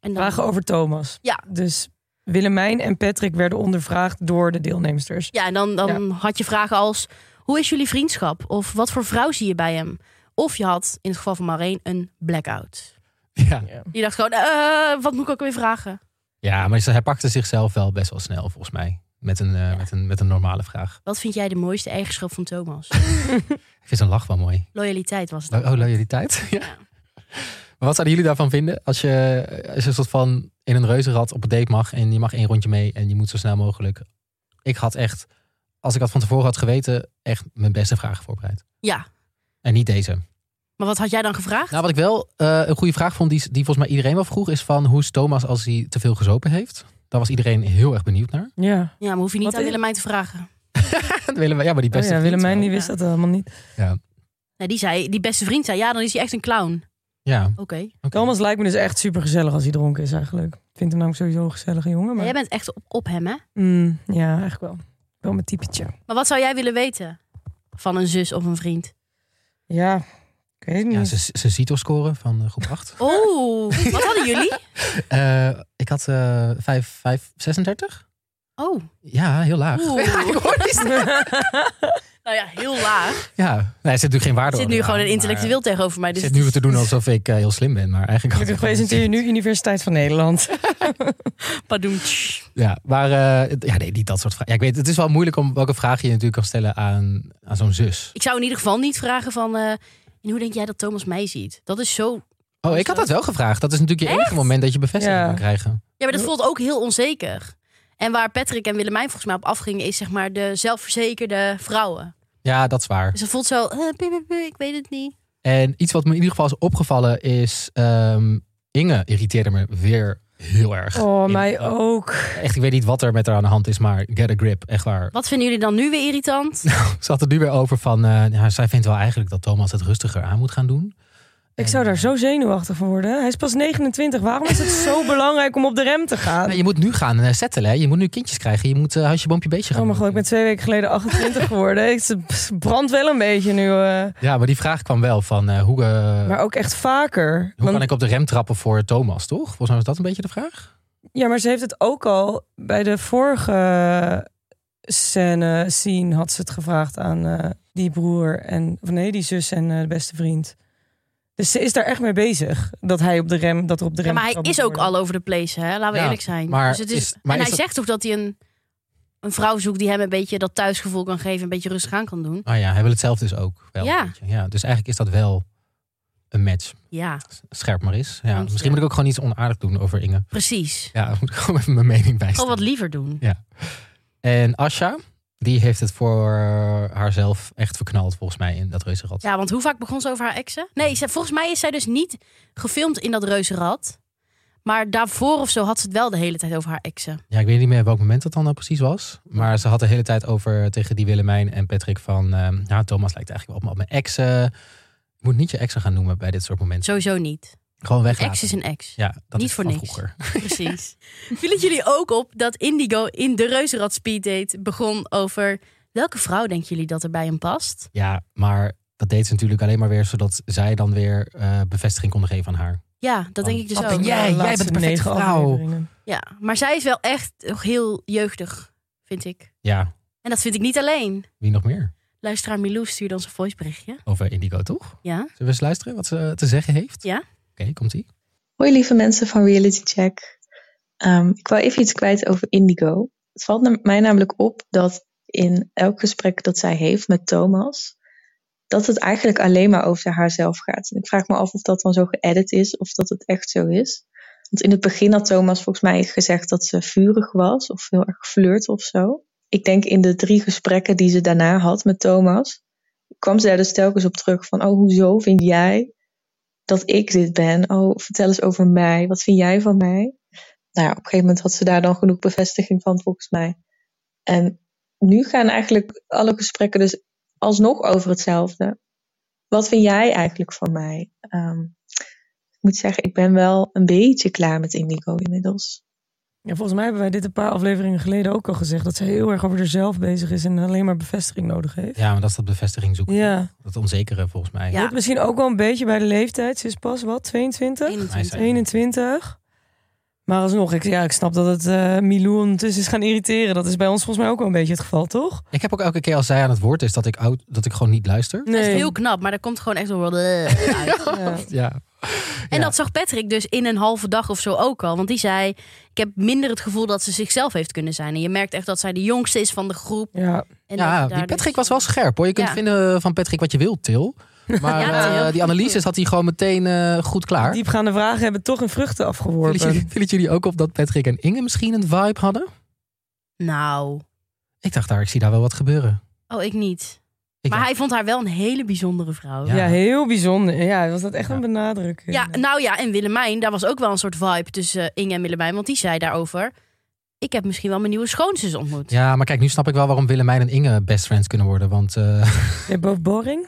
[SPEAKER 2] En dan...
[SPEAKER 3] Vragen over Thomas.
[SPEAKER 2] Ja.
[SPEAKER 3] Dus Willemijn en Patrick werden ondervraagd door de deelnemsters.
[SPEAKER 2] Ja, en dan, dan had je vragen als: hoe is jullie vriendschap? Of wat voor vrouw zie je bij hem? Of je had in het geval van Marijn een blackout.
[SPEAKER 1] Ja.
[SPEAKER 3] Ja.
[SPEAKER 2] Die dacht gewoon: eh, wat moet ik ook weer vragen?
[SPEAKER 1] ja, maar ze- hij pakte zichzelf wel best wel snel, volgens mij. Met een, eh, met een, met een normale vraag.
[SPEAKER 2] Wat vind jij de mooiste eigenschap van Thomas?
[SPEAKER 1] Ik vind zijn lach wel mooi.
[SPEAKER 2] Loyaliteit was het.
[SPEAKER 1] Lo- Oh, loyaliteit. ja. Maar Wat zouden jullie daarvan vinden? Als je, als je een soort van in een reuzenrad op een date mag en je mag één rondje mee en je moet zo snel mogelijk. Ik had echt, als ik dat van tevoren had geweten, echt mijn beste vragen voorbereid.
[SPEAKER 2] Ja,
[SPEAKER 1] En niet deze.
[SPEAKER 2] maar wat had jij dan gevraagd?
[SPEAKER 1] Nou, wat ik wel eh, een goede vraag vond, die, die volgens mij iedereen wel vroeg, is van hoe is Thomas als hij te veel gezopen heeft? Daar was iedereen heel erg benieuwd naar.
[SPEAKER 3] Ja.
[SPEAKER 2] ja, maar hoef je niet
[SPEAKER 3] Wat
[SPEAKER 2] aan
[SPEAKER 3] is-
[SPEAKER 2] Willemijn te vragen.
[SPEAKER 1] Willem- ja, maar die
[SPEAKER 3] Oh
[SPEAKER 1] beste
[SPEAKER 3] ja,
[SPEAKER 1] vriend
[SPEAKER 3] Willemijn
[SPEAKER 1] wel.
[SPEAKER 3] die wist
[SPEAKER 2] Ja.
[SPEAKER 3] dat helemaal niet.
[SPEAKER 2] Nee, Nou, die, zei, die beste vriend zei: ja, dan is hij echt een clown.
[SPEAKER 1] Ja,
[SPEAKER 2] Oké.
[SPEAKER 1] oké.
[SPEAKER 3] Thomas lijkt me dus echt super gezellig als hij dronken is eigenlijk. Ik vind hem namelijk sowieso een gezellige jongen.
[SPEAKER 2] Ja,
[SPEAKER 3] Maar...
[SPEAKER 2] jij bent echt op, op hem, hè?
[SPEAKER 3] Mm, ja, eigenlijk wel. Wel mijn typetje.
[SPEAKER 2] Maar wat zou jij willen weten van een zus of een vriend?
[SPEAKER 3] Ja, ik weet het
[SPEAKER 1] Ja,
[SPEAKER 3] niet.
[SPEAKER 1] ze, ze ziet scoren van eh, groep 8.
[SPEAKER 2] Oh, wat hadden jullie?
[SPEAKER 1] Eh, ik had eh 5, 5, 36.
[SPEAKER 2] Oh,
[SPEAKER 1] Ja, heel laag.
[SPEAKER 2] Oeh.
[SPEAKER 1] Ja, ik hoor die stem.
[SPEAKER 2] nou ja, heel laag.
[SPEAKER 1] Ja, nee, er zit natuurlijk geen waarde
[SPEAKER 2] Er zit
[SPEAKER 1] aan,
[SPEAKER 2] nu gewoon een
[SPEAKER 1] maar
[SPEAKER 2] intellectueel tegenover mij.
[SPEAKER 1] Ik
[SPEAKER 2] Dus
[SPEAKER 1] zit nu weer te doen alsof ik eh, heel slim ben, maar eigenlijk... had
[SPEAKER 3] Ik
[SPEAKER 1] ik gewoon
[SPEAKER 3] presenteer je nu Universiteit van Nederland.
[SPEAKER 2] Padoem.
[SPEAKER 1] Ja, maar eh, het- ja, nee, niet dat soort vragen. Ja, ik weet, het is wel moeilijk om welke vraag je natuurlijk kan stellen aan, aan zo'n zus.
[SPEAKER 2] Ik zou in ieder geval niet vragen van... eh, en hoe denk jij dat Thomas mij ziet? Dat is zo...
[SPEAKER 1] Oh, ik had dat wel gevraagd. Dat is natuurlijk je enige moment dat je bevestiging
[SPEAKER 3] Ja.
[SPEAKER 1] kan krijgen.
[SPEAKER 2] Ja, maar dat voelt ook heel onzeker. En waar Patrick en Willemijn volgens mij op afgingen... is zeg maar de zelfverzekerde vrouwen.
[SPEAKER 1] Ja, dat is waar.
[SPEAKER 2] Dus dat voelt zo... eh, pu, pu, pu, ik weet het niet.
[SPEAKER 1] En iets wat me in ieder geval is opgevallen is... ehm, Inge irriteerde me weer heel erg.
[SPEAKER 3] Oh,
[SPEAKER 1] In-
[SPEAKER 3] mij ook.
[SPEAKER 1] Echt, ik weet niet wat er met haar aan de hand is, maar get a grip, echt waar.
[SPEAKER 2] Wat vinden jullie dan nu weer irritant?
[SPEAKER 1] Ze had het nu weer over van... eh, ja, zij vindt wel eigenlijk dat Thomas het rustiger aan moet gaan doen.
[SPEAKER 3] Ik zou daar zo zenuwachtig van worden. Hij is pas 29. Waarom is het zo belangrijk om op de rem te gaan?
[SPEAKER 1] Maar je moet nu gaan eh, settelen. Hè? Je moet nu kindjes krijgen. Je moet eh, huisje, boompje, beestje gaan
[SPEAKER 3] Oh mijn god,
[SPEAKER 1] doen.
[SPEAKER 3] ik ben twee weken geleden 28 geworden. Ik het brandt wel een beetje nu. eh.
[SPEAKER 1] Ja, maar die vraag kwam wel van eh, hoe, eh,
[SPEAKER 3] Maar ook echt vaker.
[SPEAKER 1] hoe
[SPEAKER 3] Want-
[SPEAKER 1] kan ik op de rem trappen voor Thomas, toch? Volgens mij was dat een beetje de vraag.
[SPEAKER 3] Ja, maar ze heeft het ook al bij de vorige scène, scene, had ze het gevraagd aan eh, die broer en, of nee, die zus en eh, de beste vriend. Dus ze is daar echt mee bezig. Dat hij op de rem, dat er op de rem.
[SPEAKER 2] Ja, maar hij
[SPEAKER 3] getrapt
[SPEAKER 2] is
[SPEAKER 3] moet
[SPEAKER 2] ook
[SPEAKER 3] worden.
[SPEAKER 2] al over de place, hè? Laten we
[SPEAKER 1] Ja,
[SPEAKER 2] eerlijk zijn.
[SPEAKER 1] maar
[SPEAKER 2] dus het is,
[SPEAKER 1] is- maar
[SPEAKER 2] en
[SPEAKER 1] is
[SPEAKER 2] hij
[SPEAKER 1] dat-
[SPEAKER 2] zegt toch dat hij een, een vrouw zoekt... die hem een beetje dat thuisgevoel kan geven... een beetje rustig aan kan doen.
[SPEAKER 1] Ah ja, hij wil het zelf dus ook. Wel,
[SPEAKER 2] Ja.
[SPEAKER 1] een beetje. ja. Dus eigenlijk is dat wel een match.
[SPEAKER 2] Ja,
[SPEAKER 1] Scherp maar eens. Ja.
[SPEAKER 2] Ja.
[SPEAKER 1] Misschien moet ik ook gewoon iets onaardig doen over Inge.
[SPEAKER 2] precies.
[SPEAKER 1] Ja, daar moet ik gewoon even mijn mening bij
[SPEAKER 2] Gewoon
[SPEAKER 1] stellen.
[SPEAKER 2] wat liever doen.
[SPEAKER 1] En Asha, Die heeft het voor haarzelf echt verknald, volgens mij, in dat reuzenrad.
[SPEAKER 2] Ja, want hoe vaak begon ze over haar exen? Nee, ze- volgens mij is zij dus niet gefilmd in dat reuzenrad. Maar daarvoor of zo had ze het wel de hele tijd over haar exen.
[SPEAKER 1] Ja, ik weet niet meer welk moment dat dan nou precies was. Maar ze had de hele tijd over eh, tegen die Willemijn en Patrick van... ehm, ja, Thomas lijkt eigenlijk wel op mijn exen. Je moet niet je exen gaan noemen bij dit soort momenten.
[SPEAKER 2] Sowieso niet.
[SPEAKER 1] Gewoon
[SPEAKER 2] Een
[SPEAKER 1] weglaten.
[SPEAKER 2] ex is een ex.
[SPEAKER 1] Ja, dat
[SPEAKER 2] Niet
[SPEAKER 1] is
[SPEAKER 2] voor
[SPEAKER 1] van
[SPEAKER 2] niks.
[SPEAKER 1] vroeger.
[SPEAKER 2] Precies. Viel het jullie ook op dat Indigo in de reuzenrad speeddate begon over... Welke vrouw denken jullie dat er bij hem past?
[SPEAKER 1] Ja, maar dat deed ze natuurlijk alleen maar weer... zodat zij dan weer eh, bevestiging konden geven aan haar.
[SPEAKER 2] Ja, dat denk ik dus
[SPEAKER 1] Wat
[SPEAKER 2] ook.
[SPEAKER 1] ben jij?
[SPEAKER 3] de
[SPEAKER 1] Jij
[SPEAKER 3] laatste
[SPEAKER 1] bent de perfecte
[SPEAKER 3] negen
[SPEAKER 1] vrouw.
[SPEAKER 3] afleveringen.
[SPEAKER 2] Ja, maar zij is wel echt nog heel jeugdig, vind ik.
[SPEAKER 1] Ja,
[SPEAKER 2] En dat vind ik niet alleen.
[SPEAKER 1] wie nog meer?
[SPEAKER 2] Luisteraar Milou stuurde ons een voiceberichtje.
[SPEAKER 1] Over Indigo, toch?
[SPEAKER 2] Ja.
[SPEAKER 1] Zullen we eens luisteren wat ze eh, te zeggen heeft?
[SPEAKER 2] Ja.
[SPEAKER 1] Oké, komt-ie.
[SPEAKER 4] Hoi lieve mensen van Reality Check. Ehm, ik wou even iets kwijt over Indigo. Het valt nam- mij namelijk op dat in elk gesprek dat zij heeft met Thomas, dat het eigenlijk alleen maar over haarzelf gaat. En ik vraag me af of dat dan zo geëdit is of dat het echt zo is. Want in het begin had Thomas volgens mij gezegd dat ze vurig was of heel erg flirt of zo. Ik denk in de drie gesprekken die ze daarna had met Thomas, kwam ze daar dus telkens op terug van, oh hoezo vind jij dat ik dit ben. Oh, vertel eens over mij. Wat vind jij van mij? Nou ja, op een gegeven moment had ze daar dan genoeg bevestiging van, volgens mij. En nu gaan eigenlijk alle gesprekken dus alsnog over hetzelfde. Wat vind jij eigenlijk van mij? Ehm, ik moet zeggen, ik ben wel een beetje klaar met Indigo inmiddels.
[SPEAKER 3] Ja, volgens mij hebben wij dit een paar afleveringen geleden ook al gezegd. Dat ze heel erg over zichzelf bezig is en alleen maar bevestiging nodig heeft.
[SPEAKER 1] Ja, maar dat is dat bevestiging zoeken.
[SPEAKER 3] Ja.
[SPEAKER 1] Dat onzekere, volgens mij.
[SPEAKER 2] Ja.
[SPEAKER 3] Ligt misschien ook wel een beetje bij de leeftijd. Ze is pas wat, 22?
[SPEAKER 2] 21.
[SPEAKER 3] 21. Maar alsnog, ik, ja, ik snap dat het eh Milou ondertussen is gaan irriteren. Dat is bij ons volgens mij ook wel een beetje het geval, toch?
[SPEAKER 1] Ik heb ook elke keer als zij aan het woord is dat ik, oud, dat ik gewoon niet luister.
[SPEAKER 2] Dat is heel knap, maar dat komt gewoon echt zo... uit.
[SPEAKER 3] Ja.
[SPEAKER 1] Ja.
[SPEAKER 2] En
[SPEAKER 1] Ja.
[SPEAKER 2] dat zag Patrick dus in een halve dag of zo ook al. Want die zei, ik heb minder het gevoel dat ze zichzelf heeft kunnen zijn. En je merkt echt dat zij de jongste is van de groep.
[SPEAKER 3] ja.
[SPEAKER 2] En dat je
[SPEAKER 1] ja,
[SPEAKER 2] daar
[SPEAKER 1] die
[SPEAKER 2] dus-
[SPEAKER 1] Patrick was wel scherp hoor. Je kunt
[SPEAKER 2] Ja.
[SPEAKER 1] vinden eh, van Patrick wat je wilt, Til. Maar
[SPEAKER 2] Ja,
[SPEAKER 1] eh,
[SPEAKER 2] Til.
[SPEAKER 1] die analyses had hij gewoon meteen eh, goed klaar.
[SPEAKER 3] Diepgaande vragen hebben toch hun vruchten
[SPEAKER 1] Viel het
[SPEAKER 3] afgeworpen.
[SPEAKER 1] jullie- viel het jullie ook op dat Patrick en Inge misschien een vibe hadden?
[SPEAKER 2] Nou,
[SPEAKER 1] Ik dacht daar, ik zie daar wel wat gebeuren.
[SPEAKER 2] oh ik niet.
[SPEAKER 1] Ik
[SPEAKER 2] maar
[SPEAKER 1] dacht,
[SPEAKER 2] hij vond haar wel een hele bijzondere vrouw.
[SPEAKER 1] Ja.
[SPEAKER 3] Ja. heel bijzonder. Ja, was dat echt
[SPEAKER 1] Ja.
[SPEAKER 3] een benadrukking.
[SPEAKER 2] Ja, nou ja, en Willemijn, daar was ook wel een soort vibe tussen eh, Inge en Willemijn. Want die zei daarover, ik heb misschien wel mijn nieuwe schoonzus ontmoet.
[SPEAKER 1] Ja, maar kijk, nu snap ik wel waarom Willemijn en Inge best friends kunnen worden. Want eh
[SPEAKER 3] Ja, Bob Boring.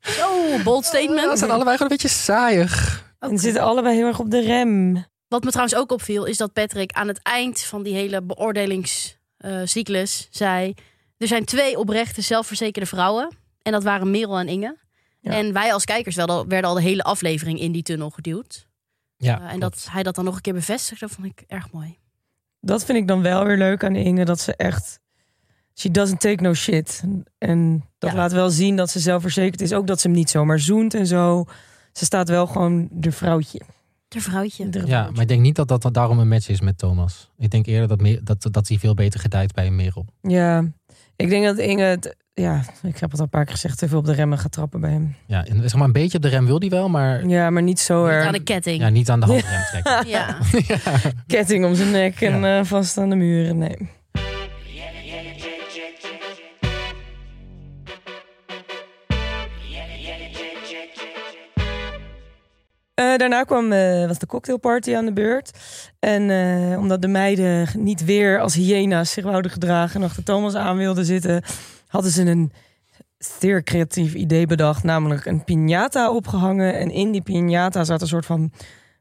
[SPEAKER 2] Zo, bold statement.
[SPEAKER 1] ze zijn allebei gewoon een beetje saaiig.
[SPEAKER 2] Oké.
[SPEAKER 3] En ze zitten allebei heel erg op de rem.
[SPEAKER 2] Wat me trouwens ook opviel, is dat Patrick aan het eind van die hele beoordelingscyclus eh, zei... Er zijn twee oprechte, zelfverzekerde vrouwen. En dat waren Merel en Inge.
[SPEAKER 3] Ja.
[SPEAKER 2] En wij als kijkers werden al, werden al de hele aflevering in die tunnel geduwd.
[SPEAKER 1] Ja,
[SPEAKER 2] Uh, en dat hij dat dan nog een keer bevestigde, vond ik erg mooi.
[SPEAKER 3] Dat vind ik dan wel weer leuk aan Inge. Dat ze echt... She doesn't take no shit. En dat
[SPEAKER 2] Ja.
[SPEAKER 3] laat wel zien dat ze zelfverzekerd is. Ook dat ze hem niet zomaar zoent en zo. Ze staat wel gewoon de vrouwtje.
[SPEAKER 2] De vrouwtje.
[SPEAKER 3] De
[SPEAKER 1] Ja, maar ik denk niet dat dat daarom een match is met Thomas. Ik denk eerder dat, Me- dat, dat hij veel beter gedijt bij een Merel.
[SPEAKER 3] Ja, ik denk dat Inge... het- ja, ik heb het al een paar keer gezegd. Te veel op de remmen gaat trappen bij hem.
[SPEAKER 1] Ja, en zeg maar een beetje op de rem wil hij wel, maar
[SPEAKER 3] Ja, maar niet zo
[SPEAKER 2] Aan
[SPEAKER 3] erg.
[SPEAKER 2] de ketting.
[SPEAKER 1] ja, niet aan de handrem trekken.
[SPEAKER 2] ja.
[SPEAKER 1] Ja.
[SPEAKER 3] Ketting om zijn nek en eh, vast aan de muren. Nee. Eh, daarna kwam, eh, was de cocktailparty aan de beurt. En eh, omdat de meiden niet weer als hyena's zich wouden gedragen... en achter Thomas aan wilden zitten... hadden ze een zeer creatief idee bedacht. Namelijk een piñata opgehangen. En in die piñata zat een soort van ze waren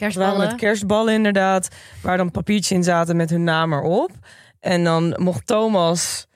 [SPEAKER 3] met
[SPEAKER 2] Kerstballen.
[SPEAKER 3] kerstballen inderdaad, waar dan papiertjes in zaten met hun naam erop. En dan mocht Thomas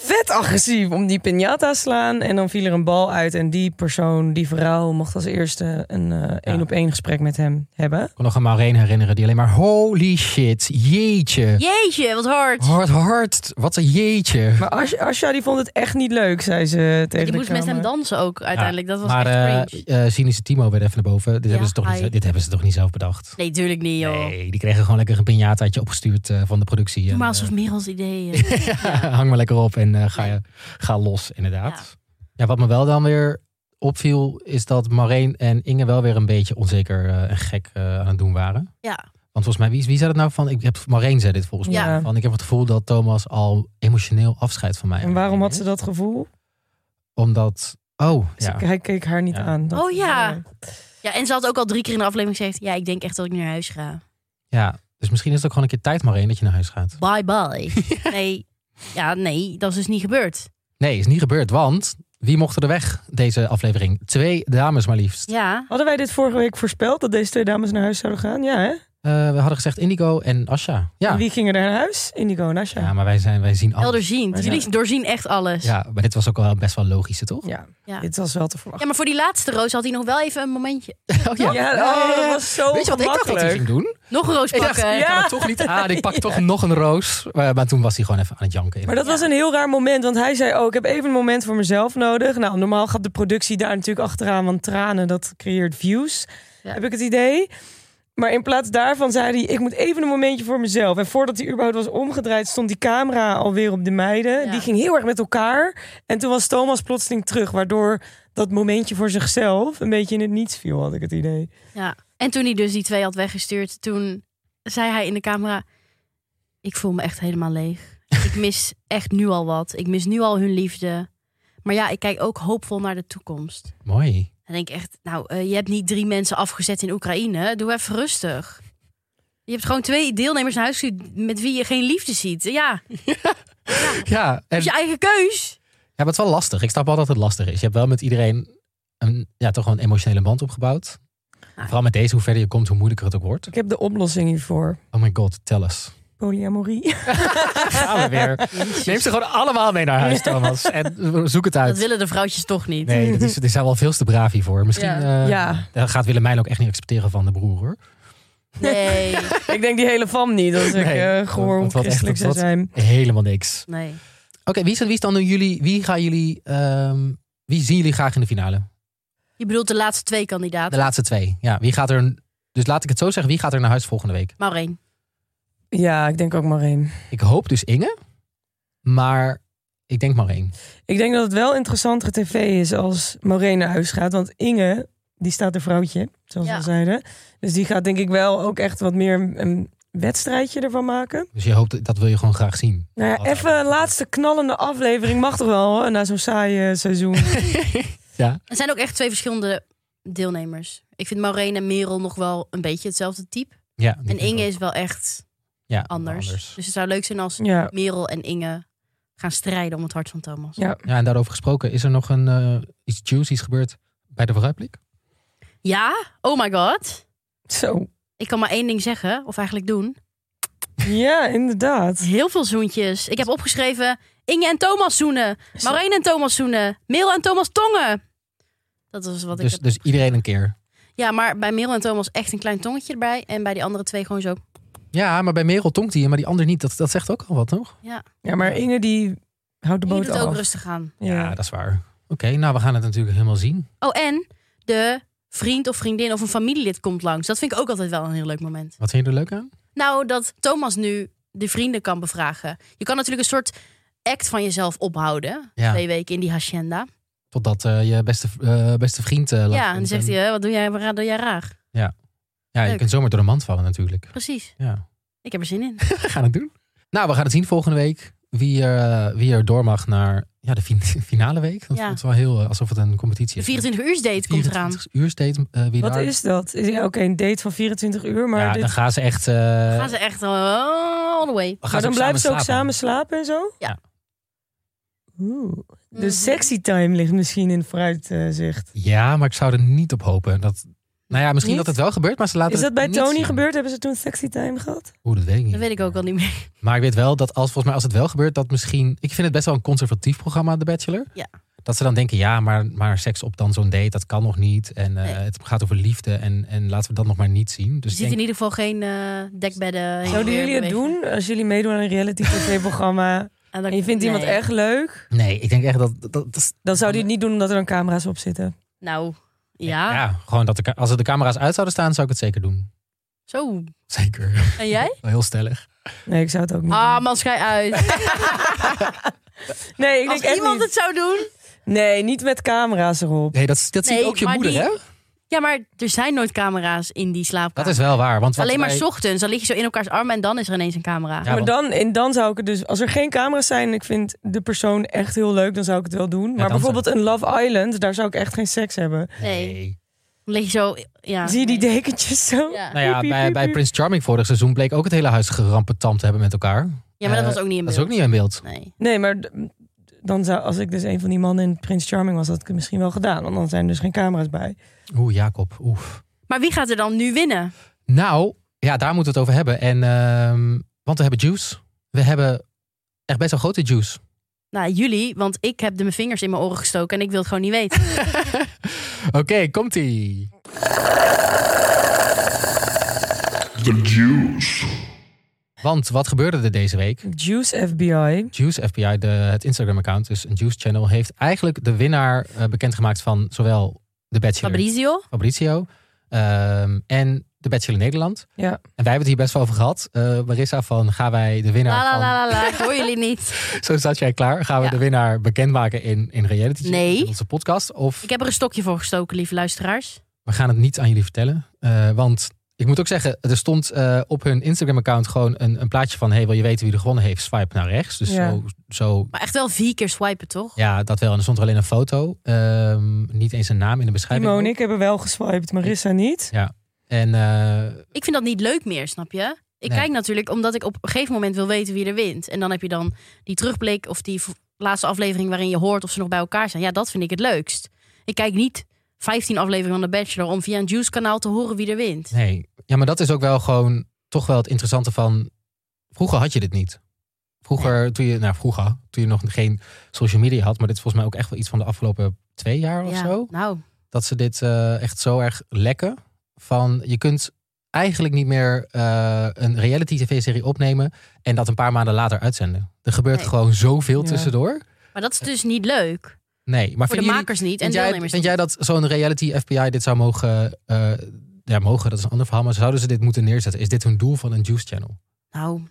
[SPEAKER 3] vet agressief om die piñata slaan. En dan viel er een bal uit en die persoon, die vrouw, mocht als eerste een eh, één-op-één gesprek met hem hebben.
[SPEAKER 1] Ik kon nog een Maureen herinneren die alleen maar holy shit, jeetje.
[SPEAKER 2] Jeetje, wat hard.
[SPEAKER 1] Hard, hard, wat een jeetje.
[SPEAKER 3] Maar Ash- Asja die vond het echt niet leuk, zei ze tegen
[SPEAKER 2] Die
[SPEAKER 3] de
[SPEAKER 2] moest met hem
[SPEAKER 3] kamer.
[SPEAKER 2] dansen ook uiteindelijk. Dat was
[SPEAKER 1] maar
[SPEAKER 2] echt cringe.
[SPEAKER 1] eh, eh, cynische Timo weer even naar boven. Dit,
[SPEAKER 2] Ja,
[SPEAKER 1] hebben ze toch
[SPEAKER 2] hi.
[SPEAKER 1] niet, dit hebben ze toch niet zelf bedacht?
[SPEAKER 2] Nee, tuurlijk niet, joh.
[SPEAKER 1] Nee, die kregen gewoon lekker een piñataatje opgestuurd eh, van de productie.
[SPEAKER 2] Doe
[SPEAKER 1] En,
[SPEAKER 2] maar
[SPEAKER 1] eh,
[SPEAKER 2] alsof Merel's ideeën. Ja.
[SPEAKER 1] Hang maar lekker op en eh, ga, je, ga los, inderdaad. Ja. wat me wel dan weer opviel, is dat Maureen en Inge wel weer een beetje onzeker eh, en gek eh, aan het doen waren.
[SPEAKER 2] ja.
[SPEAKER 1] Want volgens mij, wie, wie zei dat nou van? Ik heb, Maureen zei dit volgens mij.
[SPEAKER 3] Ja.
[SPEAKER 1] Van, ik heb het gevoel dat Thomas al emotioneel afscheid van mij
[SPEAKER 3] En waarom had
[SPEAKER 1] neemt.
[SPEAKER 3] ze dat gevoel?
[SPEAKER 1] Omdat, oh,
[SPEAKER 3] Ze-
[SPEAKER 1] ja.
[SPEAKER 3] Hij keek haar niet
[SPEAKER 1] Ja.
[SPEAKER 3] aan. Dat-
[SPEAKER 2] Oh ja. Ja, en ze had ook al drie keer in de aflevering gezegd... ja, ik denk echt dat ik nu naar huis ga.
[SPEAKER 1] ja. Dus misschien is het ook gewoon een keer tijd, Maureen, dat je naar huis gaat.
[SPEAKER 2] Bye bye. Nee, ja, nee, dat is dus niet gebeurd.
[SPEAKER 1] Nee, is niet gebeurd, want wie mochten er weg deze aflevering? Twee dames maar liefst.
[SPEAKER 2] Ja,
[SPEAKER 3] Hadden wij dit vorige week voorspeld dat deze twee dames naar huis zouden gaan? Ja, hè?
[SPEAKER 1] Eh, we hadden gezegd Indigo en Asha. Ja,
[SPEAKER 3] En wie gingen er naar huis? Indigo en Asja.
[SPEAKER 1] ja maar wij, zijn, wij zien alles.
[SPEAKER 2] helderziend.
[SPEAKER 3] Maar ja.
[SPEAKER 2] Jullie doorzien echt alles.
[SPEAKER 1] Ja, maar dit was ook wel best wel logische, toch?
[SPEAKER 3] Ja,
[SPEAKER 2] Ja.
[SPEAKER 3] dit was wel te verwachten.
[SPEAKER 2] Ja, maar voor die laatste roos had hij nog wel even een momentje.
[SPEAKER 1] Oh, ja.
[SPEAKER 3] oh, dat was zo
[SPEAKER 1] Weet je wat ik dacht dat hij ging
[SPEAKER 3] gemakkelijk.
[SPEAKER 1] doen?
[SPEAKER 2] Nog een roos
[SPEAKER 1] Ik dacht,
[SPEAKER 2] pakken.
[SPEAKER 1] ik kan
[SPEAKER 3] Ja.
[SPEAKER 1] het toch niet aan. Ik pak toch nog een roos. Maar, maar toen was hij gewoon even aan het janken.
[SPEAKER 3] Maar dat was een heel raar moment, want hij zei ook: ik heb even een moment voor mezelf nodig. Nou, normaal gaat de productie daar natuurlijk achteraan, want tranen dat creëert views.
[SPEAKER 2] Ja.
[SPEAKER 3] Heb ik het idee. Maar in plaats daarvan zei hij: ik moet even een momentje voor mezelf. En voordat hij überhaupt was omgedraaid, stond die camera alweer op de meiden.
[SPEAKER 2] Ja.
[SPEAKER 3] Die ging heel erg met elkaar. En toen was Thomas plotseling terug, waardoor dat momentje voor zichzelf een beetje in het niets viel, had ik het idee.
[SPEAKER 2] Ja. En toen hij dus die twee had weggestuurd, toen zei hij in de camera... Ik voel me echt helemaal leeg. Ik mis echt nu al wat. Ik mis nu al hun liefde. Maar ja, ik kijk ook hoopvol naar de toekomst.
[SPEAKER 1] Mooi.
[SPEAKER 2] Dan denk ik echt, nou, eh, je hebt niet drie mensen afgezet in Oekraïne. Doe even rustig. Je hebt gewoon twee deelnemers naar huis gestuurd met wie je geen liefde ziet. Ja, dat
[SPEAKER 1] Ja, en,
[SPEAKER 2] is je eigen keus.
[SPEAKER 1] ja, maar het is wel lastig. Ik snap wel dat het lastig is. Je hebt wel met iedereen een, ja, toch wel een emotionele band opgebouwd.
[SPEAKER 2] Ah.
[SPEAKER 1] Vooral met deze, hoe verder je komt, hoe moeilijker het ook wordt.
[SPEAKER 3] Ik heb de oplossing hiervoor.
[SPEAKER 1] Oh my god, tell us.
[SPEAKER 3] Polyamorie.
[SPEAKER 1] Gaan we weer. Neem ze gewoon allemaal mee naar huis, Thomas. En zoek het uit.
[SPEAKER 2] Dat willen de vrouwtjes toch niet.
[SPEAKER 1] Nee, dat is, die zijn wel veel te braaf hiervoor. Misschien
[SPEAKER 2] Ja.
[SPEAKER 1] eh,
[SPEAKER 3] Ja.
[SPEAKER 1] dat gaat Willemijn ook echt niet accepteren van de broer. Hoor.
[SPEAKER 2] Nee.
[SPEAKER 3] ik denk die hele fam niet, als ik
[SPEAKER 1] Nee,
[SPEAKER 3] eh, gehoor hoe
[SPEAKER 1] dat- dat-
[SPEAKER 3] christelijk ze
[SPEAKER 1] dat-
[SPEAKER 3] zijn.
[SPEAKER 1] Helemaal niks.
[SPEAKER 2] nee.
[SPEAKER 1] Oké, wie, is- wie is dan nu jullie? Wie gaan jullie? ehm, wie zien jullie graag in de finale?
[SPEAKER 2] Je bedoelt de laatste twee
[SPEAKER 1] De
[SPEAKER 2] kandidaten.
[SPEAKER 1] laatste twee. Ja, wie gaat er? Dus laat ik het zo zeggen. Wie gaat er naar huis volgende week?
[SPEAKER 2] Maureen.
[SPEAKER 3] Ja, ik denk ook maar één.
[SPEAKER 1] Ik hoop dus Inge, maar ik denk maar één.
[SPEAKER 3] Ik denk dat het wel interessantere tv is als Maureen naar huis gaat. Want Inge, die staat een vrouwtje, zoals
[SPEAKER 2] Ja.
[SPEAKER 3] we al zeiden. Dus die gaat denk ik wel ook echt wat meer een, een wedstrijdje ervan maken.
[SPEAKER 1] Dus je hoopt dat wil je gewoon graag zien.
[SPEAKER 3] Nou ja,
[SPEAKER 1] Altijd.
[SPEAKER 3] even een laatste knallende aflevering mag toch wel, hè, na zo'n saaie seizoen.
[SPEAKER 2] Er zijn ook echt twee verschillende deelnemers. Ik vind Maureen en Merel nog wel een beetje hetzelfde type.
[SPEAKER 1] Ja. die
[SPEAKER 2] En
[SPEAKER 1] vind ik
[SPEAKER 2] Inge
[SPEAKER 1] ook.
[SPEAKER 2] is wel echt
[SPEAKER 1] ja,
[SPEAKER 2] anders. Dus het zou leuk zijn als
[SPEAKER 3] ja.
[SPEAKER 2] Merel en Inge gaan strijden om het hart van Thomas.
[SPEAKER 3] Ja.
[SPEAKER 1] Ja, en daarover gesproken is er nog een eh, iets juicy's gebeurd bij de vooruitblik.
[SPEAKER 2] Ja? Oh my god.
[SPEAKER 3] Zo.
[SPEAKER 2] Ik kan maar één ding zeggen, of eigenlijk doen.
[SPEAKER 3] Ja, inderdaad.
[SPEAKER 2] Heel veel zoentjes. Ik heb opgeschreven Inge en Thomas zoenen. Maureen en Thomas zoenen. Merel en Thomas tongen. Dat was wat ik
[SPEAKER 1] Dus,
[SPEAKER 2] heb.
[SPEAKER 1] dus iedereen een keer.
[SPEAKER 2] Ja, maar bij Merel en Thomas echt een klein tongetje erbij. En bij die andere twee gewoon zo.
[SPEAKER 1] Ja, maar bij Merel tongt hij, maar die ander niet. Dat, dat zegt ook al wat, toch?
[SPEAKER 3] Ja, maar Inge die houdt de
[SPEAKER 2] Je doet
[SPEAKER 3] boot
[SPEAKER 2] het ook
[SPEAKER 3] af.
[SPEAKER 2] rustig aan.
[SPEAKER 1] Ja, dat is waar. Oké, nou we gaan het natuurlijk helemaal zien.
[SPEAKER 2] Oh, en de vriend of vriendin of een familielid komt langs. Dat vind ik ook altijd wel een heel leuk moment.
[SPEAKER 1] Wat vind je er leuk aan?
[SPEAKER 2] Nou, dat Thomas nu de vrienden kan bevragen. Je kan natuurlijk een soort act van jezelf ophouden.
[SPEAKER 1] Ja.
[SPEAKER 2] Twee weken in die hacienda.
[SPEAKER 1] Totdat eh, je beste, eh, beste vriend eh, langs
[SPEAKER 2] ja, en dan
[SPEAKER 1] komt
[SPEAKER 2] zegt
[SPEAKER 1] en-
[SPEAKER 2] hij, hè, wat doe jij, wat doe jij raar?
[SPEAKER 1] Ja, je
[SPEAKER 2] leuk.
[SPEAKER 1] kunt zomaar door de mand vallen natuurlijk.
[SPEAKER 2] Precies,
[SPEAKER 1] Ja,
[SPEAKER 2] ik heb er zin in.
[SPEAKER 1] we gaan het doen. Nou, we gaan het zien volgende week. Wie er, eh, wie er door mag naar ja, de fin- finale week. Dat
[SPEAKER 2] Ja.
[SPEAKER 1] voelt wel heel eh, alsof het een competitie
[SPEAKER 2] De
[SPEAKER 1] is.
[SPEAKER 2] 24 uur date komt eraan.
[SPEAKER 1] 24 uur date. eh, wie
[SPEAKER 3] Wat
[SPEAKER 1] daar-
[SPEAKER 3] is dat? Is- ja, Oké, een date van 24 uur, maar
[SPEAKER 1] ja,
[SPEAKER 3] dit...
[SPEAKER 1] dan gaan ze echt... eh,
[SPEAKER 2] Gaan ze echt eh, all the way.
[SPEAKER 1] gaan
[SPEAKER 3] Maar
[SPEAKER 1] ze
[SPEAKER 3] dan
[SPEAKER 1] ook
[SPEAKER 3] blijven ze ook
[SPEAKER 1] slapen.
[SPEAKER 3] samen slapen en zo?
[SPEAKER 1] Ja.
[SPEAKER 3] Oeh.
[SPEAKER 2] Mhm.
[SPEAKER 3] Dus sexy time ligt misschien in het vooruitzicht.
[SPEAKER 1] Ja, maar ik zou er niet op hopen. Dat, nou ja, misschien
[SPEAKER 3] Niet?
[SPEAKER 1] dat het wel gebeurt, maar ze laten
[SPEAKER 3] Is dat
[SPEAKER 1] het
[SPEAKER 3] bij
[SPEAKER 1] niet
[SPEAKER 3] Tony
[SPEAKER 1] zien.
[SPEAKER 3] gebeurd? Hebben ze toen sexy time gehad?
[SPEAKER 1] Oeh, dat weet ik niet.
[SPEAKER 2] Dat weet ik ook al niet meer.
[SPEAKER 1] Maar ik weet wel dat als, volgens mij als het wel gebeurt, dat misschien... Ik vind het best wel een conservatief programma, The Bachelor.
[SPEAKER 2] Ja.
[SPEAKER 1] Dat ze dan denken, ja, maar, maar seks op dan zo'n date, dat kan nog niet. En eh,
[SPEAKER 2] Nee.
[SPEAKER 1] het gaat over liefde en, en laten we dat nog maar niet zien.
[SPEAKER 2] Je
[SPEAKER 1] Dus ik
[SPEAKER 2] ziet
[SPEAKER 1] denk,
[SPEAKER 2] in ieder geval geen eh, dekbedden. heen en
[SPEAKER 3] Zouden
[SPEAKER 2] weer
[SPEAKER 3] jullie het
[SPEAKER 2] bewegen.
[SPEAKER 3] doen als jullie meedoen aan een reality tv-programma
[SPEAKER 2] En dan-
[SPEAKER 3] en je vindt iemand
[SPEAKER 2] Nee.
[SPEAKER 3] echt leuk?
[SPEAKER 1] Nee, ik denk echt dat... dat, dat is-
[SPEAKER 3] Dan zou die het niet doen omdat er dan camera's op zitten.
[SPEAKER 2] Nou,
[SPEAKER 1] ja.
[SPEAKER 2] ja.
[SPEAKER 1] gewoon dat de, ca- als er de camera's uit zouden staan, zou ik het zeker doen.
[SPEAKER 2] Zo.
[SPEAKER 1] Zeker.
[SPEAKER 2] En jij?
[SPEAKER 1] Wel Heel stellig.
[SPEAKER 3] Nee, ik zou het ook niet
[SPEAKER 2] Ah, man, schij uit.
[SPEAKER 3] doen. Nee, ik
[SPEAKER 2] Als
[SPEAKER 3] denk echt
[SPEAKER 2] iemand
[SPEAKER 3] niet.
[SPEAKER 2] het zou doen.
[SPEAKER 3] Nee, niet met camera's erop.
[SPEAKER 1] Nee, dat, dat ziet
[SPEAKER 2] Nee,
[SPEAKER 1] ook je
[SPEAKER 2] maar
[SPEAKER 1] moeder,
[SPEAKER 2] die-
[SPEAKER 1] hè?
[SPEAKER 2] Ja, maar er zijn nooit camera's in die slaapkamer.
[SPEAKER 1] Dat is wel waar. Want wat
[SPEAKER 2] Alleen maar
[SPEAKER 1] wij-
[SPEAKER 2] s ochtends. Dan lig je zo in elkaars armen en dan is er ineens een camera.
[SPEAKER 1] Ja,
[SPEAKER 3] maar
[SPEAKER 1] want-
[SPEAKER 3] dan, en dan zou ik het dus, als er geen camera's zijn en ik vind de persoon echt heel leuk, dan zou ik het wel doen. Maar
[SPEAKER 1] dan
[SPEAKER 3] bijvoorbeeld een Love Island, daar zou ik echt geen seks hebben.
[SPEAKER 2] Nee. Dan lig je zo... Ja.
[SPEAKER 3] Zie je die
[SPEAKER 2] nee.
[SPEAKER 3] dekentjes zo?
[SPEAKER 2] Ja.
[SPEAKER 1] Nou ja,
[SPEAKER 3] Piep, piep,
[SPEAKER 1] bij,
[SPEAKER 3] piep,
[SPEAKER 1] bij
[SPEAKER 3] piep.
[SPEAKER 1] Prince Charming vorig seizoen bleek ook het hele huis gerampetamd te hebben met elkaar.
[SPEAKER 2] ja, maar dat
[SPEAKER 1] Eh,
[SPEAKER 2] was ook niet in
[SPEAKER 1] Dat
[SPEAKER 2] beeld.
[SPEAKER 1] is ook niet in beeld.
[SPEAKER 2] Nee.
[SPEAKER 3] Nee, maar d- dan zou, als ik dus een van die mannen in Prince Charming was, had ik het misschien wel gedaan. Want dan zijn er dus geen camera's bij.
[SPEAKER 1] Oeh, Jacob. Oef.
[SPEAKER 2] Maar wie gaat er dan nu winnen?
[SPEAKER 1] Nou, ja, daar moeten we het over hebben. En, ehm, want we hebben juice. We hebben echt best wel grote juice.
[SPEAKER 2] Nou, jullie, want ik heb de mijn vingers in mijn oren gestoken en ik wil het gewoon niet weten.
[SPEAKER 1] Oké, komt-ie.
[SPEAKER 5] The Juice.
[SPEAKER 1] Want wat gebeurde er deze week?
[SPEAKER 2] Hm.
[SPEAKER 3] Juice FBI.
[SPEAKER 1] Juice FBI, de, het Instagram-account, dus een Juice Channel, heeft eigenlijk de winnaar eh, bekendgemaakt van zowel The Bachelor
[SPEAKER 2] Fabrizio?
[SPEAKER 1] Fabrizio ehm, en The Bachelor Nederland.
[SPEAKER 3] Ja.
[SPEAKER 1] En wij hebben het hier best wel over gehad. Eh, Marissa, van gaan wij de winnaar
[SPEAKER 2] La la
[SPEAKER 1] van...
[SPEAKER 2] la la la, ik hoor jullie niet.
[SPEAKER 1] Zo zat jij klaar. Gaan we
[SPEAKER 2] Ja.
[SPEAKER 1] de winnaar bekendmaken in, in reality? Check,
[SPEAKER 2] Nee.
[SPEAKER 1] In onze podcast? Of...
[SPEAKER 2] Ik heb er een stokje voor gestoken, lieve luisteraars.
[SPEAKER 1] We gaan het niet aan jullie vertellen. Eh, want ik moet ook zeggen, er stond eh, op hun Instagram-account gewoon een, een plaatje van: hey, wil je weten wie er gewonnen heeft? Swipe naar rechts. Dus
[SPEAKER 3] Ja.
[SPEAKER 1] zo, zo.
[SPEAKER 2] Maar echt wel vier keer swipen, toch?
[SPEAKER 1] Ja, dat wel. En er stond er alleen een foto. Ehm, niet eens een naam in de beschrijving.
[SPEAKER 3] Timo en ik hebben wel geswiped, Marissa niet.
[SPEAKER 1] En eh,
[SPEAKER 2] Ik vind dat niet leuk meer, snap je? Ik
[SPEAKER 1] Nee.
[SPEAKER 2] kijk natuurlijk omdat ik op een gegeven moment wil weten wie er wint. En dan heb je dan die terugblik of die v- laatste aflevering waarin je hoort of ze nog bij elkaar zijn. Ja, dat vind ik het leukst. Ik kijk niet 15 afleveringen van The Bachelor om via een Juice-kanaal te horen wie er wint.
[SPEAKER 1] nee. Ja, maar dat is ook wel gewoon toch wel het interessante van. Vroeger had je dit niet. Vroeger, toen je, nou vroeger, toen je nog geen social media had, maar dit is volgens mij ook echt wel iets van de afgelopen twee jaar of
[SPEAKER 2] ja,
[SPEAKER 1] zo.
[SPEAKER 2] nou,
[SPEAKER 1] dat ze dit eh, echt zo erg lekken. Van je kunt eigenlijk niet meer eh, een reality tv-serie opnemen en dat een paar maanden later uitzenden. Er gebeurt
[SPEAKER 2] Nee.
[SPEAKER 1] gewoon zoveel
[SPEAKER 3] Ja.
[SPEAKER 1] tussendoor.
[SPEAKER 2] maar dat is dus niet leuk.
[SPEAKER 1] Nee, maar
[SPEAKER 2] Voor de
[SPEAKER 1] vinden jullie-
[SPEAKER 2] makers niet en
[SPEAKER 1] vind jij,
[SPEAKER 2] deelnemers
[SPEAKER 1] vind jij dat zo'n reality FBI dit zou mogen, eh, ja mogen, dat is een ander verhaal, maar zouden ze dit moeten neerzetten? Is dit hun doel van een Juice Channel?
[SPEAKER 2] Nou,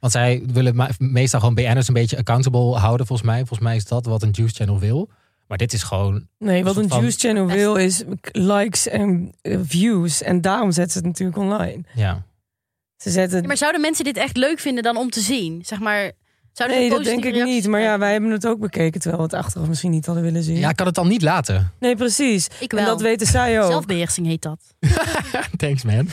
[SPEAKER 1] Want zij willen ma- meestal gewoon BN'ers een beetje accountable houden volgens mij. Volgens mij is dat wat een Juice Channel wil. Maar dit is gewoon,
[SPEAKER 3] Nee, wat
[SPEAKER 1] Een soort
[SPEAKER 3] een
[SPEAKER 1] van-
[SPEAKER 3] Juice Channel wil is likes en eh, views. En daarom zetten ze het natuurlijk online.
[SPEAKER 1] ja.
[SPEAKER 3] Ze zetten...
[SPEAKER 2] ja, maar zouden mensen dit echt leuk vinden dan om te zien? Zeg maar, zouden
[SPEAKER 3] nee,
[SPEAKER 2] ze
[SPEAKER 3] dat denk
[SPEAKER 2] positieve
[SPEAKER 3] ik niet.
[SPEAKER 2] reacties
[SPEAKER 3] Maar ja,
[SPEAKER 2] krijgen?
[SPEAKER 3] wij hebben het ook bekeken, terwijl we het achteraf misschien niet hadden willen zien.
[SPEAKER 1] Ja, ik kan het dan niet laten.
[SPEAKER 3] Nee, precies.
[SPEAKER 2] Ik
[SPEAKER 3] En
[SPEAKER 2] wel.
[SPEAKER 3] dat weten zij ook.
[SPEAKER 2] Zelfbeheersing heet dat.
[SPEAKER 1] Thanks man.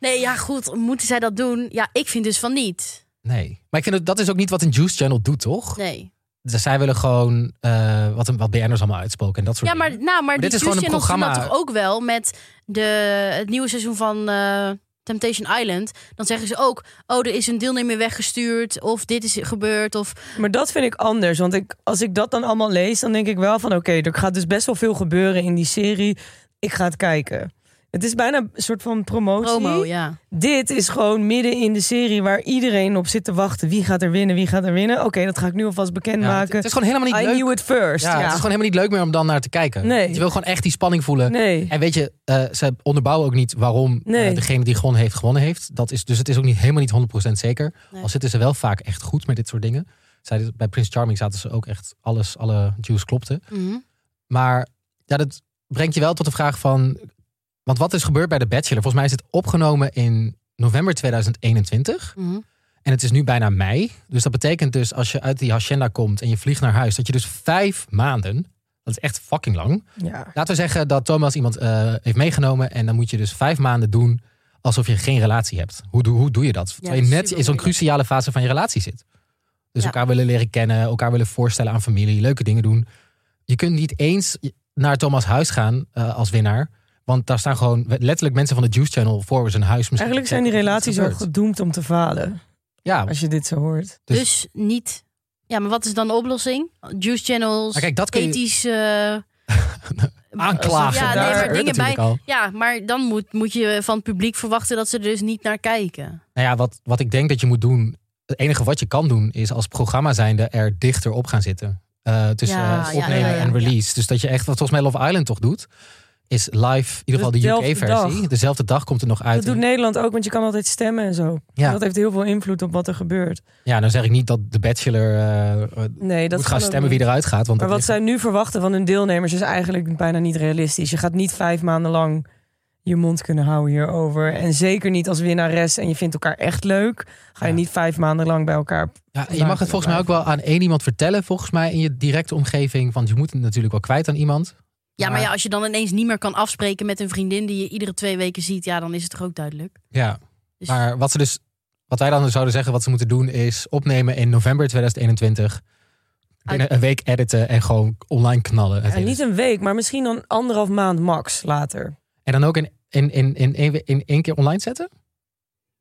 [SPEAKER 2] Nee, ja, goed. Moeten zij dat doen? Ja, ik vind dus van niet.
[SPEAKER 1] Nee. Maar ik vind dat, dat is ook niet wat een Juice Channel doet, toch?
[SPEAKER 2] Nee.
[SPEAKER 1] Dus Zij willen gewoon eh, wat, een- wat BN'ers allemaal uitspoken en dat soort
[SPEAKER 2] Ja, maar,
[SPEAKER 1] dingen.
[SPEAKER 2] nou, maar,
[SPEAKER 1] dit
[SPEAKER 2] die
[SPEAKER 1] is gewoon een
[SPEAKER 2] Juice Channels doen
[SPEAKER 1] programma.
[SPEAKER 2] dat toch ook wel met de, het nieuwe seizoen van eh, Temptation Island. Dan zeggen ze ook, oh, er is een deelnemer weggestuurd. Of dit is gebeurd. Of,
[SPEAKER 3] Maar dat vind ik anders. Want ik, als ik dat dan allemaal lees, dan denk ik wel van... oké, er gaat dus best wel veel gebeuren in die serie. Ik ga het kijken. Het is bijna een soort van promotie.
[SPEAKER 2] promo, ja.
[SPEAKER 3] Dit is gewoon midden in de serie waar iedereen op zit te wachten. Wie gaat er winnen, wie gaat er winnen? Oké, dat ga ik nu alvast
[SPEAKER 1] Ja, het,
[SPEAKER 3] bekendmaken.
[SPEAKER 1] het is gewoon helemaal
[SPEAKER 3] I
[SPEAKER 1] niet leuk.
[SPEAKER 3] knew it first.
[SPEAKER 1] Ja,
[SPEAKER 3] Ja,
[SPEAKER 1] Het is gewoon helemaal niet leuk meer om dan naar te kijken.
[SPEAKER 3] Nee.
[SPEAKER 1] Je wil gewoon echt die spanning voelen.
[SPEAKER 3] Nee.
[SPEAKER 1] En weet je, eh, ze onderbouwen ook niet waarom eh,
[SPEAKER 3] Nee.
[SPEAKER 1] degene die gewonnen heeft, gewonnen heeft. Dat is, dus het is ook niet, helemaal niet 100% zeker.
[SPEAKER 2] Nee.
[SPEAKER 1] Al zitten ze wel vaak echt goed met dit soort dingen. Zij, bij Prince Charming zaten ze ook echt alles, alle juice klopte.
[SPEAKER 2] Mhm.
[SPEAKER 1] Maar ja, dat brengt je wel tot de vraag van... Want wat is gebeurd bij The Bachelor? Volgens mij is het opgenomen in november 2021.
[SPEAKER 2] Mhm.
[SPEAKER 1] En het is nu bijna mei. Dus dat betekent dus als je uit die hacienda komt en je vliegt naar huis... dat je dus vijf maanden... Dat is echt fucking lang.
[SPEAKER 3] ja.
[SPEAKER 1] Laten we zeggen dat Thomas iemand eh, heeft meegenomen... en dan moet je dus vijf maanden doen alsof je geen relatie hebt. Hoe, doe- hoe doe je dat? Terwijl je net in zo'n
[SPEAKER 2] supermoeilijk.
[SPEAKER 1] cruciale fase van je relatie zit. Dus
[SPEAKER 2] Ja.
[SPEAKER 1] elkaar willen leren kennen, elkaar willen voorstellen aan familie, leuke dingen doen. Je kunt niet eens naar Thomas Huis gaan eh, als winnaar. Want daar staan gewoon letterlijk mensen van de Juice Channel voor zijn huis. Misschien
[SPEAKER 3] Eigenlijk zijn die relaties al
[SPEAKER 1] ook
[SPEAKER 3] gedoemd om te falen.
[SPEAKER 1] Ja, maar
[SPEAKER 3] Als je dit zo hoort.
[SPEAKER 1] Dus-
[SPEAKER 2] Dus, niet... Ja, maar wat is dan de oplossing? Juice Channels,
[SPEAKER 1] kijk, dat kun je
[SPEAKER 2] ethisch... eh,
[SPEAKER 1] aanklagen.
[SPEAKER 2] Ja, nee,
[SPEAKER 1] Daar
[SPEAKER 2] maar
[SPEAKER 1] gebeurt
[SPEAKER 2] dingen
[SPEAKER 1] natuurlijk
[SPEAKER 2] bij-
[SPEAKER 1] al.
[SPEAKER 2] Ja, maar dan moet, moet je van het publiek verwachten dat ze er dus niet naar kijken.
[SPEAKER 1] Nou ja, wat, wat ik denk dat je moet doen. Het enige wat je kan doen is als programma zijnde er dichter op gaan zitten. Eh, tussen
[SPEAKER 2] Ja,
[SPEAKER 1] eh,
[SPEAKER 2] ja,
[SPEAKER 1] opnemen
[SPEAKER 2] ja, ja,
[SPEAKER 1] en
[SPEAKER 2] ja.
[SPEAKER 1] release. Dus dat je echt, wat volgens mij Love Island toch doet. is live, in ieder geval de
[SPEAKER 3] Dezelfde
[SPEAKER 1] UK-versie.
[SPEAKER 3] dag.
[SPEAKER 1] Dezelfde dag komt er nog uit.
[SPEAKER 3] Dat doet Nederland ook, want je kan altijd stemmen en zo.
[SPEAKER 1] Ja.
[SPEAKER 3] Dat heeft heel veel invloed op wat er gebeurt.
[SPEAKER 1] Ja, nou zeg ik niet dat de Bachelor eh, eh,
[SPEAKER 3] Nee, dat
[SPEAKER 1] moet
[SPEAKER 3] kan
[SPEAKER 1] gaan
[SPEAKER 3] ook
[SPEAKER 1] stemmen
[SPEAKER 3] niet.
[SPEAKER 1] wie eruit gaat. Want
[SPEAKER 3] Maar
[SPEAKER 1] dat
[SPEAKER 3] wat zij nu verwachten van hun deelnemers is eigenlijk bijna niet realistisch. Je gaat niet vijf maanden lang je mond kunnen houden hierover. En zeker niet als winnares en je vindt elkaar echt leuk. Ga je
[SPEAKER 1] Ja.
[SPEAKER 3] niet vijf maanden lang bij elkaar.
[SPEAKER 1] Ja, en je mag het volgens mij ook wel aan één iemand vertellen, volgens mij in je directe omgeving. Want je moet het natuurlijk wel kwijt aan iemand.
[SPEAKER 2] Ja, maar
[SPEAKER 1] Maar-
[SPEAKER 2] ja, als je dan ineens niet meer kan afspreken met een vriendin die je iedere twee weken ziet, ja, dan is het toch ook duidelijk.
[SPEAKER 1] Ja.
[SPEAKER 2] Dus-
[SPEAKER 1] Maar wat, ze dus, wat wij dan zouden zeggen, wat ze moeten doen, is opnemen in november 2021.
[SPEAKER 2] Ah,
[SPEAKER 1] Binnen een week editen en gewoon online knallen. het
[SPEAKER 3] En
[SPEAKER 1] hele
[SPEAKER 3] niet een week, maar misschien dan anderhalf maand max later.
[SPEAKER 1] En dan ook in, in, in, in, één we- in één keer online zetten?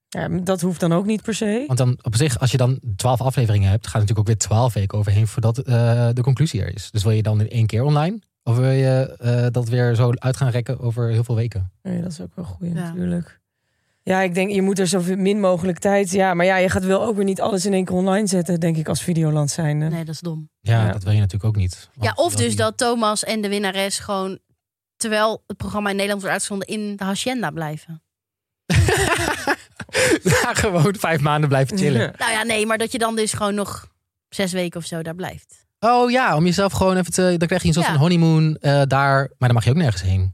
[SPEAKER 3] Ja, dat hoeft dan ook niet per se.
[SPEAKER 1] Want dan op zich, als je dan twaalf afleveringen hebt, gaat natuurlijk ook weer twaalf weken overheen voordat eh, de conclusie er is. Dus wil je dan in één keer online? Of wil je eh, dat weer zo uit gaan rekken over heel veel weken?
[SPEAKER 3] Nee, dat is ook wel goed
[SPEAKER 2] Ja.
[SPEAKER 3] natuurlijk. Ja, ik denk, je moet er zo min mogelijk tijd. Ja, maar ja, je gaat wel ook weer niet alles in één keer online zetten, denk ik, als Videoland zijnde.
[SPEAKER 2] Nee, dat is dom.
[SPEAKER 1] Ja,
[SPEAKER 3] Ja.
[SPEAKER 1] dat wil je natuurlijk ook niet. Want
[SPEAKER 2] Ja, of
[SPEAKER 1] je wil
[SPEAKER 2] dus
[SPEAKER 1] die-
[SPEAKER 2] dat Thomas en de winnares gewoon, terwijl het programma in Nederland wordt uitgezonden, in de Hacienda blijven.
[SPEAKER 1] Ja, gewoon vijf maanden blijven chillen.
[SPEAKER 3] Ja.
[SPEAKER 2] Nou ja, nee, maar dat je dan dus gewoon nog zes weken of zo daar blijft.
[SPEAKER 1] Oh ja, om jezelf gewoon even te... Dan krijg je een soort
[SPEAKER 2] Ja.
[SPEAKER 1] van honeymoon eh, daar. Maar dan mag je ook nergens heen.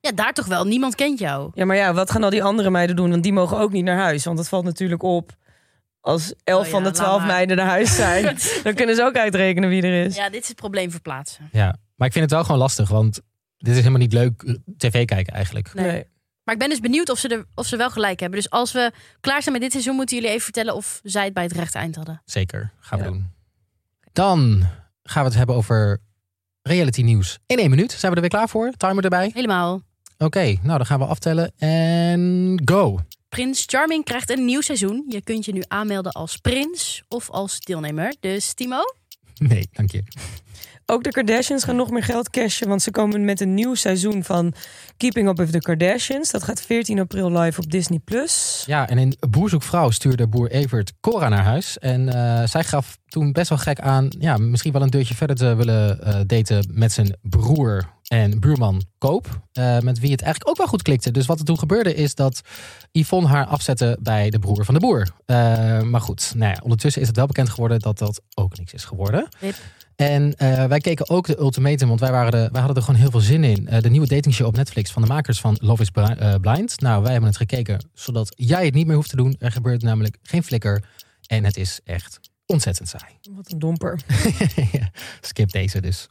[SPEAKER 2] Ja, daar toch wel. Niemand kent jou.
[SPEAKER 3] Ja, maar ja, wat gaan al die andere meiden doen? Want die mogen ook niet naar huis. Want dat valt natuurlijk op. Als elf
[SPEAKER 2] Oh ja,
[SPEAKER 3] van de
[SPEAKER 2] laat
[SPEAKER 3] twaalf
[SPEAKER 2] maar.
[SPEAKER 3] meiden naar huis zijn, dan kunnen ze ook uitrekenen wie er is.
[SPEAKER 2] Ja, dit is het probleem verplaatsen.
[SPEAKER 1] Ja, maar ik vind het wel gewoon lastig. Want dit is helemaal niet leuk eh, tv kijken eigenlijk.
[SPEAKER 2] Nee. Maar ik ben dus benieuwd of ze, er, of ze wel gelijk hebben. Dus als we klaar zijn met dit seizoen, moeten jullie even vertellen of zij het bij het rechte eind hadden.
[SPEAKER 1] Zeker, gaan we
[SPEAKER 3] Ja.
[SPEAKER 1] doen. Dan gaan we het hebben over reality nieuws. In één minuut zijn we er weer klaar voor. Timer erbij.
[SPEAKER 2] Helemaal.
[SPEAKER 1] Oké, nou dan gaan we aftellen. En go.
[SPEAKER 2] Prins Charming krijgt een nieuw seizoen. Je kunt je nu aanmelden als prins of als deelnemer. Dus Timo?
[SPEAKER 1] Nee, dank je.
[SPEAKER 3] Ook de Kardashians gaan nog meer geld cashen, want ze komen met een nieuw seizoen van Keeping Up with the Kardashians. Dat gaat 14 april live op Disney+. Plus.
[SPEAKER 1] Ja, en in Boer zoekt vrouw stuurde boer Evert Cora naar huis. En eh, zij gaf toen best wel gek aan... Ja, misschien wel een deurtje verder te willen eh, daten met zijn broer en buurman Koop. eh, met wie het eigenlijk ook wel goed klikte. Dus wat er toen gebeurde is dat Yvonne haar afzette bij de broer van de boer. Eh, maar goed, nou ja, ondertussen is het wel bekend geworden dat dat ook niks is geworden.
[SPEAKER 2] Rip.
[SPEAKER 1] En eh, wij keken ook de ultimatum, want wij, waren de, wij hadden er gewoon heel veel zin in. Eh, de nieuwe datingshow op Netflix van de makers van Love is Bri- eh, Blind. Nou, wij hebben het gekeken zodat jij het niet meer hoeft te doen. Er gebeurt namelijk geen flikker en het is echt ontzettend saai.
[SPEAKER 3] Wat een domper.
[SPEAKER 1] Ja, Skip deze dus.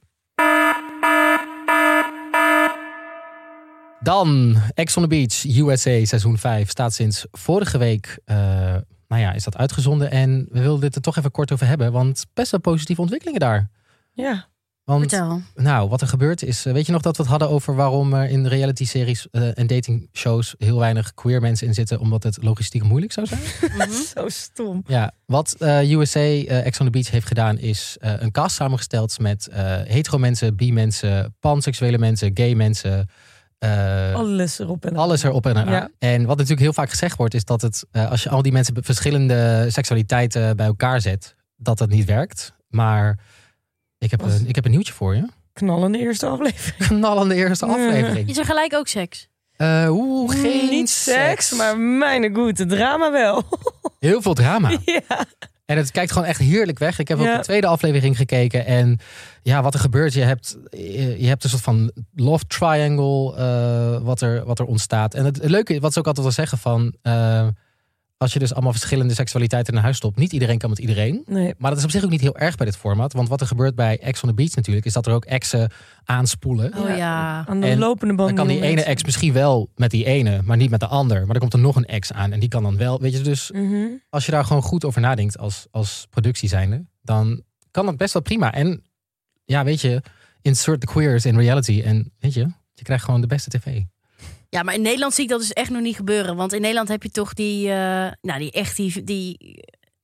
[SPEAKER 1] Dan, Ex on the Beach, USA, seizoen 5, staat sinds vorige week, eh, nou ja, is dat uitgezonden. En we wilden dit er toch even kort over hebben, want best wel positieve ontwikkelingen daar.
[SPEAKER 3] Ja.
[SPEAKER 1] Want,
[SPEAKER 2] Vertel.
[SPEAKER 1] nou, wat er gebeurt is, eh, weet je nog dat we het hadden over waarom er in reality-series eh, en datingshows heel weinig queer mensen in zitten, omdat het logistiek moeilijk zou zijn?
[SPEAKER 2] Mhm.
[SPEAKER 3] Zo stom.
[SPEAKER 1] Ja, wat eh, USA eh Ex on the Beach heeft gedaan is eh, een cast samengesteld met eh, hetero mensen, bi mensen, panseksuele mensen, gay mensen. eh,
[SPEAKER 3] Alles erop en
[SPEAKER 1] alles erop en eraan.
[SPEAKER 3] Ja.
[SPEAKER 1] En wat natuurlijk heel vaak gezegd wordt is dat het eh, als je al die mensen met verschillende seksualiteiten bij elkaar zet, dat dat niet werkt. Maar ik heb,
[SPEAKER 3] Was-
[SPEAKER 1] een, ik heb een nieuwtje voor je.
[SPEAKER 3] Knallende eerste aflevering.
[SPEAKER 1] Knallende eerste
[SPEAKER 3] Nee.
[SPEAKER 1] aflevering.
[SPEAKER 2] Is er gelijk ook seks?
[SPEAKER 1] Eh, Oeh, geen
[SPEAKER 3] niet seks, maar mijn goed, het drama wel.
[SPEAKER 1] Heel veel drama.
[SPEAKER 3] ja.
[SPEAKER 1] En het kijkt gewoon echt heerlijk weg. Ik heb ook
[SPEAKER 3] Ja.
[SPEAKER 1] de tweede aflevering gekeken. En ja, wat er gebeurt, je hebt, je hebt een soort van love triangle eh, wat, er, wat er ontstaat. En het leuke, wat ze ook altijd wel zeggen van... eh, als je dus allemaal verschillende seksualiteiten in huis stopt... niet iedereen kan met iedereen.
[SPEAKER 3] Nee.
[SPEAKER 1] Maar dat is op zich ook niet heel erg bij dit format. Want wat er gebeurt bij Ex on the Beach natuurlijk... is dat er ook exen aanspoelen.
[SPEAKER 2] Oh ja.
[SPEAKER 3] Aan de
[SPEAKER 1] En
[SPEAKER 3] lopende band.
[SPEAKER 1] Dan kan die
[SPEAKER 3] nieuwe
[SPEAKER 1] ene
[SPEAKER 3] mensen.
[SPEAKER 1] ex misschien wel met die ene, maar niet met de ander. Maar dan komt er nog een ex aan en die kan dan wel. Weet je, dus
[SPEAKER 3] Mhm.
[SPEAKER 1] als je daar gewoon goed over nadenkt als, als productie zijnde, dan kan dat best wel prima. En ja, weet je, insert the queers in reality. En weet je, je krijgt gewoon de beste tv.
[SPEAKER 2] Ja, maar in Nederland zie ik dat dus echt nog niet gebeuren. Want in Nederland heb je toch die, eh, nou, die echt die, die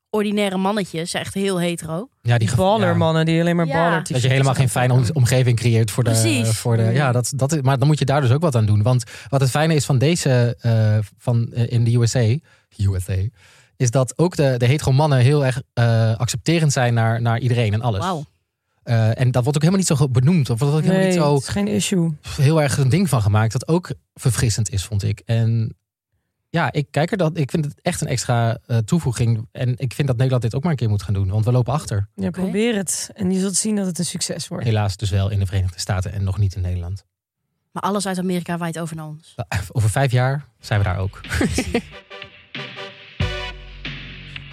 [SPEAKER 2] ordinaire mannetjes, echt heel hetero.
[SPEAKER 1] Ja,
[SPEAKER 3] Die
[SPEAKER 1] ge- ja,
[SPEAKER 3] ballermannen die alleen maar
[SPEAKER 2] Ja.
[SPEAKER 3] baller
[SPEAKER 1] Dat je helemaal geen fijne om- omgeving creëert voor de.
[SPEAKER 2] Precies. Mm.
[SPEAKER 1] Voor de ja, dat, dat is, maar dan moet je daar dus ook wat aan doen. Want wat het fijne is van deze. eh, van, eh, in de USA. USA. Is dat ook de, de hetero mannen heel erg eh, accepterend zijn naar, naar iedereen en alles.
[SPEAKER 2] Wauw.
[SPEAKER 1] Eh, en dat wordt ook helemaal niet zo goed benoemd. Of dat wordt ook
[SPEAKER 3] Nee,
[SPEAKER 1] helemaal
[SPEAKER 3] het
[SPEAKER 1] niet
[SPEAKER 3] is geen issue.
[SPEAKER 1] zo heel erg een ding van gemaakt. Dat ook verfrissend is, vond ik. En ja, ik kijk er dat. Ik vind het echt een extra eh, toevoeging. En ik vind dat Nederland dit ook maar een keer moet gaan doen. Want we lopen achter.
[SPEAKER 3] Ja, probeer het. En je zult zien dat het een succes wordt.
[SPEAKER 1] Helaas dus wel in de Verenigde Staten en nog niet in Nederland.
[SPEAKER 2] Maar alles uit Amerika waait over naar ons.
[SPEAKER 1] Nou, Over vijf jaar zijn we daar ook.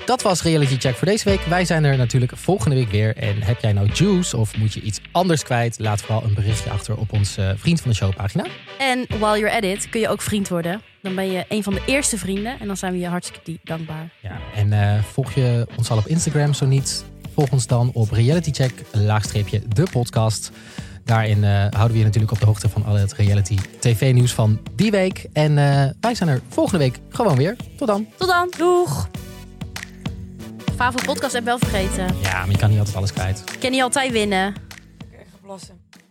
[SPEAKER 1] Dat was Reality Check voor deze week. Wij zijn er natuurlijk volgende week weer. En heb jij nou juice of moet je iets anders kwijt? Laat vooral een berichtje achter op onze eh, Vriend van de Show pagina.
[SPEAKER 2] En while you're at it kun je ook vriend worden. Dan ben je een van de eerste vrienden. En dan zijn we je hartstikke die- dankbaar.
[SPEAKER 1] Ja, en eh, volg je ons al op Instagram, zo niet. Volg ons dan op realitycheck, laagstreepje, de podcast. Daarin eh, houden we je natuurlijk op de hoogte van al het reality tv nieuws van die week. En eh, wij zijn er volgende week gewoon weer. Tot dan.
[SPEAKER 2] Tot dan. Doeg. Favo podcast heb wel vergeten.
[SPEAKER 1] Ja, maar je kan niet altijd alles kwijt.
[SPEAKER 2] Kan niet altijd winnen.
[SPEAKER 3] Geblassen.